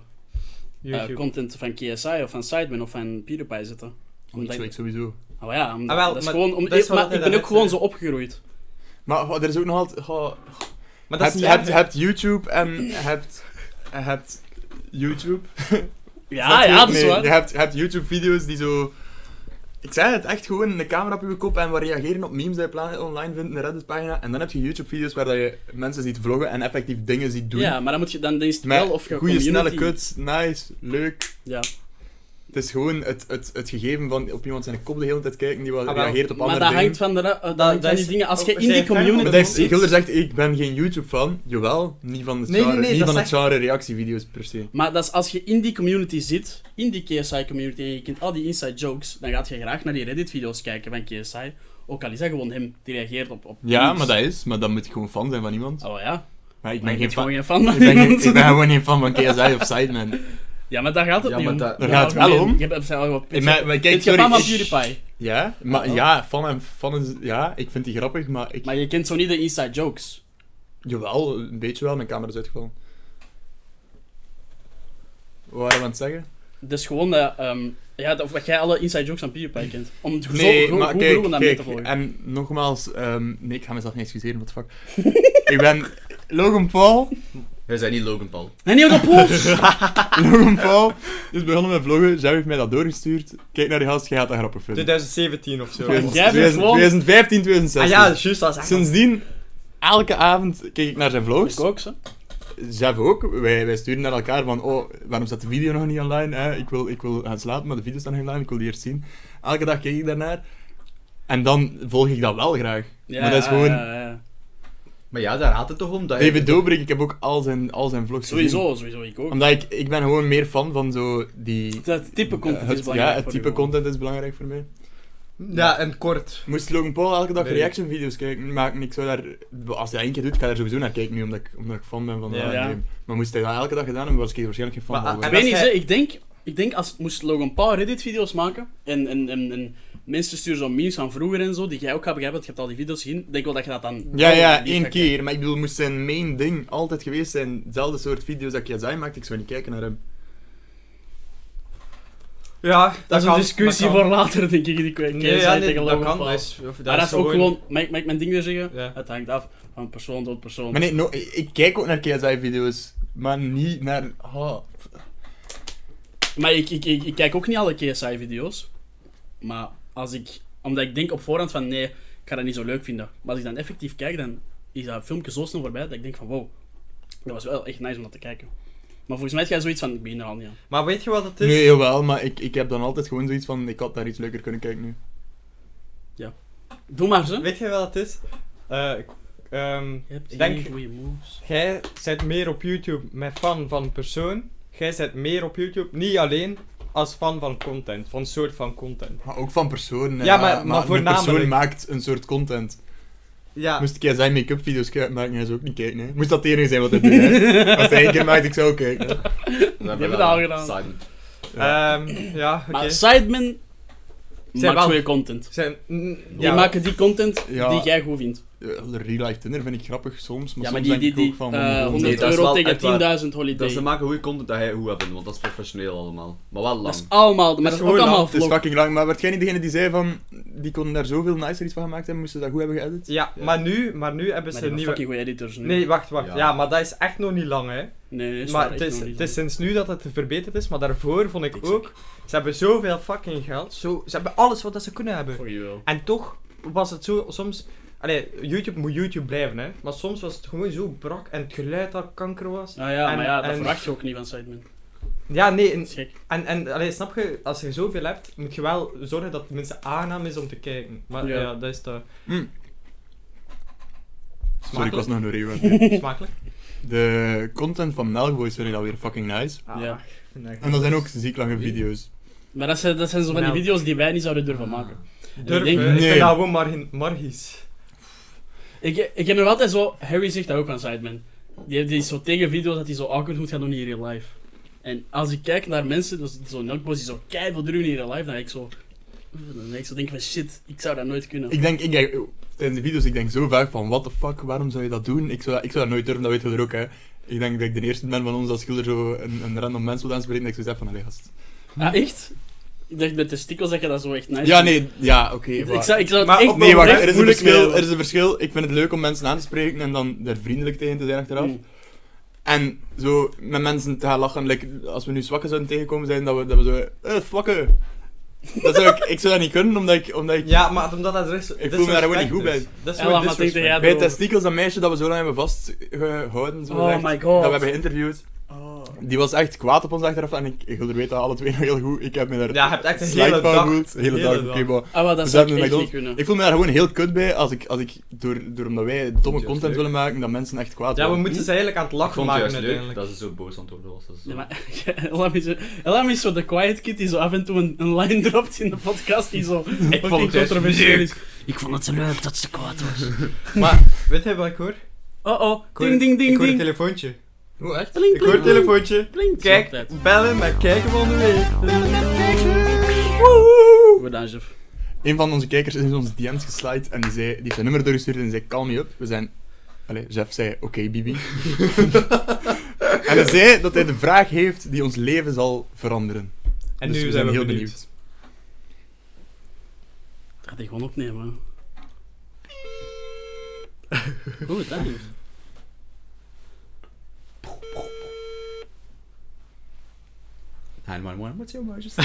Speaker 1: eh,
Speaker 2: YouTube.
Speaker 1: content van KSI of van Sidemen of van PewDiePie zetten.
Speaker 4: Dat wil ik sowieso.
Speaker 1: Oh ja, omdat-
Speaker 2: Ah, wel,
Speaker 1: dat is
Speaker 2: maar
Speaker 1: gewoon, om, e-
Speaker 2: dat is wat
Speaker 1: maar
Speaker 2: hij
Speaker 1: ik ben ook
Speaker 2: daarnet
Speaker 1: gewoon zo
Speaker 2: zei.
Speaker 1: opgegroeid.
Speaker 4: Maar goh, er is ook nog altijd... goh,
Speaker 2: maar
Speaker 4: hebt,
Speaker 2: dat is niet
Speaker 4: hebt,
Speaker 2: erg.
Speaker 4: hebt YouTube en hebt... en hebt YouTube. Snap
Speaker 1: Ja,
Speaker 4: je?
Speaker 1: ja, dat is
Speaker 4: Nee,
Speaker 1: waar.
Speaker 4: Je hebt, je hebt YouTube-video's die zo... Ik zei het, echt gewoon de camera op je kop en waar reageren op memes die je pla- online vindt in de Reddit-pagina. En dan heb je YouTube-video's waar dat je mensen ziet vloggen en effectief dingen ziet doen.
Speaker 1: Ja, maar dan moet je dan eens
Speaker 4: Met
Speaker 1: wel of je
Speaker 4: goede, snelle
Speaker 1: community-
Speaker 4: cuts, nice, leuk.
Speaker 1: Ja.
Speaker 4: Het is gewoon het, het, het gegeven van op iemand zijn kop de hele tijd kijken die wel
Speaker 2: Ah, wel.
Speaker 4: reageert op
Speaker 1: Maar
Speaker 4: andere
Speaker 1: dat
Speaker 4: dingen.
Speaker 1: hangt van de ra- eh, dat
Speaker 2: Dat-
Speaker 1: hangt
Speaker 2: dat
Speaker 1: van die
Speaker 2: is-
Speaker 1: dingen. Als je
Speaker 2: oh,
Speaker 1: in die
Speaker 2: zijn fan van
Speaker 1: community
Speaker 4: Maar dat heeft-
Speaker 1: zit-
Speaker 4: Gilder zegt, ik ben geen YouTube-fan. Jawel, niet van het
Speaker 2: Nee, nee,
Speaker 4: genre,
Speaker 2: nee,
Speaker 4: niet
Speaker 2: dat
Speaker 4: van het
Speaker 2: zegt-
Speaker 4: genre reactievideo's per se.
Speaker 1: Maar dat is als je in die community zit, in die KSI-community, en je kent al die inside jokes, dan gaat je graag naar die Reddit-video's kijken van KSI. Ook al is dat gewoon hem, die reageert op, op
Speaker 4: Ja,
Speaker 1: memes.
Speaker 4: maar dat is. Maar dan moet je gewoon fan zijn van iemand.
Speaker 1: Oh ja,
Speaker 4: Maar ik ben
Speaker 1: maar je
Speaker 4: geen
Speaker 1: bent
Speaker 4: fan.
Speaker 1: gewoon geen fan van
Speaker 4: Ik ben, geen-
Speaker 1: iemand.
Speaker 4: ik ben gewoon geen fan van KSI of Sidemen.
Speaker 1: Ja, maar daar gaat het
Speaker 3: Ja,
Speaker 1: niet
Speaker 3: maar
Speaker 1: om.
Speaker 3: dat-
Speaker 4: Daar gaat het wel om.
Speaker 1: Je bent zijn wel wat
Speaker 4: Ik ben- maar kijk,
Speaker 1: Vind je fan van
Speaker 4: sorry, ik-
Speaker 1: PewDiePie,
Speaker 4: Ja, maar
Speaker 1: Oh.
Speaker 4: ja, fan en fan is... Ja, ik vind die grappig, maar ik...
Speaker 1: maar je kent zo niet de inside jokes.
Speaker 4: Jawel, een beetje wel. Mijn camera is uitgevallen. Wat waren we aan het zeggen?
Speaker 1: Dus gewoon dat, ehm, ja, dat, of jij alle inside jokes van PewDiePie kent. Om het
Speaker 4: Nee,
Speaker 1: zo
Speaker 4: maar
Speaker 1: goed
Speaker 4: kijk,
Speaker 1: broeren daarmee te
Speaker 4: kijk. eh,
Speaker 1: volgen.
Speaker 4: En nogmaals... ehm, nee, ik ga mezelf niet excuseren, what the fuck. ik ben Logan Paul.
Speaker 3: Hij zei niet Logan Paul.
Speaker 1: En niet op de pols!
Speaker 4: Logan Paul is begonnen met vloggen. Jij heeft mij dat doorgestuurd. Kijk naar die gast, jij gaat dat grappig vinden.
Speaker 2: 2017 of zo.
Speaker 1: Ja, jij bent gewoon-
Speaker 4: 2015,
Speaker 2: Ah
Speaker 4: 2016.
Speaker 2: ja, juist, dat is echt...
Speaker 4: Sindsdien elke avond keek ik naar zijn vlogs.
Speaker 1: Ik ook, ze.
Speaker 4: Jeff ook. Wij, wij sturen naar elkaar van, oh, waarom staat de video nog niet online? Hè? Ik, wil, ik wil gaan slapen, maar de video staat nog niet online. Ik wil die eerst zien. Elke dag keek ik daarnaar. En dan volg ik dat wel graag.
Speaker 1: Ja,
Speaker 4: maar dat is
Speaker 1: ja,
Speaker 4: gewoon...
Speaker 1: ja, ja.
Speaker 3: Maar ja, daar gaat het toch om. Dat je-
Speaker 4: David Dobrik, ik heb ook al zijn, al zijn vlogs gezien.
Speaker 1: Sowieso, sowieso, ik ook.
Speaker 4: Omdat ik, ik ben gewoon meer fan van zo die...
Speaker 1: Dat type content
Speaker 4: het,
Speaker 1: is belangrijk
Speaker 4: Ja, het
Speaker 1: voor
Speaker 4: type
Speaker 1: u, man.
Speaker 4: content is belangrijk voor mij.
Speaker 3: Ja, en kort.
Speaker 4: Moest Logan Paul elke dag
Speaker 2: Nee.
Speaker 4: reaction-video's kijken, maken. Ik zou daar, als hij dat één keer doet, ga ik daar sowieso naar kijken, nu omdat ik, omdat ik fan ben van dat
Speaker 2: Ja.
Speaker 4: ondernemen. Maar moest hij dat elke dag gedaan hebben, was ik hier waarschijnlijk geen fan
Speaker 3: Maar,
Speaker 4: van.
Speaker 3: en
Speaker 1: Ik weet
Speaker 3: als
Speaker 1: niet,
Speaker 3: hij-
Speaker 1: hè, ik denk, ik denk als moest Logan Paul Reddit-video's maken en, en, en, en mensen sturen zo memes van vroeger en zo, die jij ook gaat begrijpen, want je hebt al die video's gezien, denk wel dat je dat dan...
Speaker 4: ja, ja,
Speaker 1: die
Speaker 4: één
Speaker 1: gaat kijken.
Speaker 4: keer. Maar ik bedoel, moest zijn main ding altijd geweest zijn, hetzelfde soort video's dat Yazai maakt, ik zou niet kijken naar hem.
Speaker 2: Ja, dat,
Speaker 1: Dat, is
Speaker 2: kan,
Speaker 1: een discussie
Speaker 2: dat kan.
Speaker 1: voor later, denk ik, die kwijt
Speaker 2: Nee, ja, nee, dat kan. Dat is, of,
Speaker 1: Maar dat is ook gewoon, mag ik, mag ik mijn ding weer zeggen?
Speaker 2: Ja.
Speaker 1: Het hangt af van persoon tot persoon.
Speaker 4: Maar nee, no, ik, ik kijk ook naar Yazai-video's, maar niet naar... Oh.
Speaker 1: Maar ik, ik, ik, ik kijk ook niet alle KSI-video's. Maar als ik... Omdat ik denk op voorhand van nee, ik ga dat niet zo leuk vinden. Maar als ik dan effectief kijk, dan is dat filmpje zo snel voorbij dat ik denk van wow. Dat was wel echt nice om dat te kijken. Maar volgens mij heb jij zoiets van, ik begin er al niet aan.
Speaker 2: Maar weet je wat het is?
Speaker 4: Nee, jawel, maar ik, ik heb dan altijd gewoon zoiets van, ik had daar iets leuker kunnen kijken nu.
Speaker 1: Doe maar, ze.
Speaker 2: Weet je wat het is? Eh, ik- ehm,
Speaker 1: Je hebt
Speaker 2: Dank
Speaker 1: geen
Speaker 2: je.
Speaker 1: goede moves.
Speaker 2: jij zit meer op YouTube met fan van een persoon. Jij zit meer op YouTube, niet alleen, als fan van content. Van soort van content.
Speaker 4: Maar ook van personen. hè.
Speaker 2: Ja, maar- maar
Speaker 4: Een persoon
Speaker 2: voornamelijk.
Speaker 4: maakt een soort content.
Speaker 2: Ja.
Speaker 4: Moest ik zijn make-up video's maken, hij zou ook niet kijken. Hè. Moest dat het enige zijn wat hij deed. Hè. Als hij één keer maakt, ik zou ook kijken. hè.
Speaker 3: Die
Speaker 1: hebben dat al gedaan.
Speaker 3: Simon.
Speaker 2: Ehm, ja, oké.
Speaker 1: Maar Sidemen maakt
Speaker 2: wel-
Speaker 1: goede content.
Speaker 2: Zijn, mm,
Speaker 1: Die
Speaker 2: ja,
Speaker 1: maken die content
Speaker 4: Ja.
Speaker 1: die jij goed vindt.
Speaker 4: Eh, Real life Tinder vind ik grappig soms, maar
Speaker 1: ja, maar
Speaker 4: soms
Speaker 1: die, die,
Speaker 4: denk
Speaker 1: die
Speaker 4: ik ook van...
Speaker 1: eh,
Speaker 4: oh,
Speaker 1: 100
Speaker 3: Nee, dat is
Speaker 1: euro
Speaker 3: wel
Speaker 1: tegen
Speaker 3: echt waar.
Speaker 1: 10.000 holiday.
Speaker 3: Dat ze maken goede content dat hij goed hebben, want dat is professioneel allemaal. Maar wel
Speaker 1: Dat
Speaker 3: lang.
Speaker 1: is allemaal, maar dat is,
Speaker 2: is
Speaker 1: ook
Speaker 2: gewoon
Speaker 1: allemaal
Speaker 4: Het is
Speaker 1: vlog.
Speaker 4: fucking lang, maar werd jij niet degene die zei van... Die konden daar zoveel nicer iets van gemaakt hebben, moesten ze dat goed hebben geëdit?
Speaker 2: ja, maar nu, maar nu hebben ze
Speaker 1: Maar die
Speaker 2: een
Speaker 1: hebben
Speaker 2: nieuwe...
Speaker 1: fucking goede editors nu.
Speaker 2: Nee, wacht, wacht.
Speaker 3: Ja.
Speaker 2: Ja. maar dat is echt nog niet lang, hè.
Speaker 1: Nee, nee, is
Speaker 2: maar
Speaker 1: waar,
Speaker 2: het
Speaker 1: echt
Speaker 2: is,
Speaker 1: nog niet
Speaker 2: het is
Speaker 1: zo.
Speaker 2: sinds nu dat het verbeterd is, maar daarvoor vond ik
Speaker 1: Exact.
Speaker 2: ook... Ze hebben zoveel fucking geld. Zo, ze hebben alles wat dat ze kunnen hebben.
Speaker 1: Voor je wel.
Speaker 2: En toch was het zo soms. Allee, YouTube moet YouTube blijven, hè? Maar soms was het gewoon zo brak en het geluid dat kanker was.
Speaker 1: Nou ja,
Speaker 2: En-
Speaker 1: maar ja, dat
Speaker 2: en-
Speaker 1: verwacht je ook niet van Sidemen.
Speaker 2: Ja, nee.
Speaker 1: Dat
Speaker 2: En,
Speaker 1: is gek.
Speaker 2: en, en allee, snap je, als je zoveel hebt, moet je wel zorgen dat het mensen aangenaam is om te kijken. Maar
Speaker 1: Ja.
Speaker 2: ja, dat is te
Speaker 4: Hm. Sorry, ik
Speaker 2: smakelijk.
Speaker 4: was nog een reuwe.
Speaker 2: smakelijk.
Speaker 4: De content van Nelgboys vind ik alweer fucking nice.
Speaker 2: Ah,
Speaker 1: Ja.
Speaker 2: nee.
Speaker 4: En dat zijn ook ziek lange video's.
Speaker 1: Maar dat zijn, dat zijn zo van die
Speaker 2: Nou.
Speaker 1: video's die wij niet zouden durven maken.
Speaker 2: Durf,
Speaker 1: Ik denk-
Speaker 2: hè. ik
Speaker 4: Nee.
Speaker 2: vind dat gewoon margin, margies.
Speaker 1: Ik, ik heb nog altijd zo... Harry zegt dat ook van Sidemen. Die, heeft- die is zo tegen video's dat hij zo awkward moet gaan doen in real life. En als ik kijk naar mensen, dus zo'n Nokbos die zo keihard doen in real life, dan denk ik zo... Dan denk ik zo denk van shit, ik zou dat nooit kunnen.
Speaker 4: Ik denk, ik denk, oh, tijdens de video's, ik denk zo vaak van, what the fuck, waarom zou je dat doen? Ik zou, dat- ik zou dat nooit durven, dat weten we er ook, hè. Ik denk dat ik de eerste ben van ons als schilder zo een, een random mens wil aanspreken, dat ik zo zeg van, allee, gast.
Speaker 1: Ah, echt? Ik dacht met testikels dat je dat zo echt nice
Speaker 4: Ja,
Speaker 1: vindt.
Speaker 4: nee, ja, oké.
Speaker 1: Ik, ik
Speaker 4: waar.
Speaker 1: zou, ik zou het
Speaker 2: Maar
Speaker 1: echt
Speaker 2: op-
Speaker 4: nee, wacht,
Speaker 1: oprecht
Speaker 4: er is, een
Speaker 1: moeilijk
Speaker 4: verschil,
Speaker 1: vinden.
Speaker 4: er is een verschil. Ik vind het leuk om mensen aan te spreken en dan daar vriendelijk tegen te zijn achteraf.
Speaker 1: Mm.
Speaker 4: En zo met mensen te gaan lachen, like, als we nu zwakken zouden tegenkomen zijn, dat we, dat we zo, eh, zwakken. Dat zou ik, ik zou dat niet kunnen, omdat ik, omdat ik
Speaker 2: Ja, maar omdat dat is. dus.
Speaker 4: Ik voel me daar gewoon niet goed bij.
Speaker 2: Dat is
Speaker 1: Ella,
Speaker 2: gewoon
Speaker 1: maar denk
Speaker 2: disrespect.
Speaker 1: jij-
Speaker 4: bij testikels, dat meisje dat we zo lang hebben vastgehouden, zo
Speaker 1: Oh
Speaker 4: gezegd,
Speaker 1: my god.
Speaker 4: dat we hebben geïnterviewd. Die was echt kwaad op ons achteraf en ik, Gulder weet dat alle twee nog heel goed. Ik heb me daar
Speaker 2: Ja, je hebt echt een
Speaker 4: slecht
Speaker 2: hele
Speaker 4: van
Speaker 2: dag-
Speaker 4: gevoeld. Hele,
Speaker 2: hele
Speaker 4: dag,
Speaker 2: dag.
Speaker 4: oké, maar
Speaker 1: Ah, wel, dat
Speaker 4: we
Speaker 1: zou
Speaker 4: zaten in
Speaker 1: ik echt niet
Speaker 4: McDonald's.
Speaker 1: kunnen.
Speaker 4: Ik voel me daar gewoon heel kut bij als ik, als ik door, door omdat wij domme
Speaker 3: Juist
Speaker 4: content
Speaker 3: leuk.
Speaker 4: willen maken, dat mensen echt kwaad
Speaker 2: Ja, we
Speaker 4: worden.
Speaker 2: moeten ze eigenlijk aan het
Speaker 3: Ik
Speaker 2: lachen
Speaker 3: vond het
Speaker 2: maken
Speaker 3: juist leuk
Speaker 2: uiteindelijk.
Speaker 3: dat ze zo boos aan het worden was. Dat is zo-
Speaker 1: Ja, maar Elam is, Elam is zo de quiet kid die zo af en toe een, een line dropt in de podcast die zo ik
Speaker 2: vond het juist
Speaker 1: controversieel is. Ik vond het leuk dat ze kwaad was.
Speaker 2: Maar weet je wat ik hoor?
Speaker 1: Oh oh,
Speaker 2: Ik hoor-
Speaker 1: ding ding
Speaker 2: Ik
Speaker 1: ding
Speaker 2: hoor een
Speaker 1: ding.
Speaker 2: telefoontje.
Speaker 4: Hoe echt?
Speaker 1: Pling,
Speaker 2: Ik hoor
Speaker 1: pling,
Speaker 2: een telefoontje.
Speaker 1: pling.
Speaker 2: Kijk,
Speaker 1: Zo, tijd.
Speaker 2: bellen, maar kijken van de week.
Speaker 1: Gedaan, chef.
Speaker 4: Een van onze kijkers is in onze DM's geslide en die, zei, die heeft zijn nummer doorgestuurd en die zei call me up. We zijn... Allee, Jeff zei oké Bibi. en hij zei dat hij de vraag heeft die ons leven zal veranderen.
Speaker 2: En
Speaker 4: Dus
Speaker 2: nu
Speaker 4: we
Speaker 2: zijn we
Speaker 4: heel
Speaker 2: heel benieuwd.
Speaker 1: Dat gaat hij gewoon opnemen. hè. Goed, hè?
Speaker 3: Hi, my one, what's your emergency?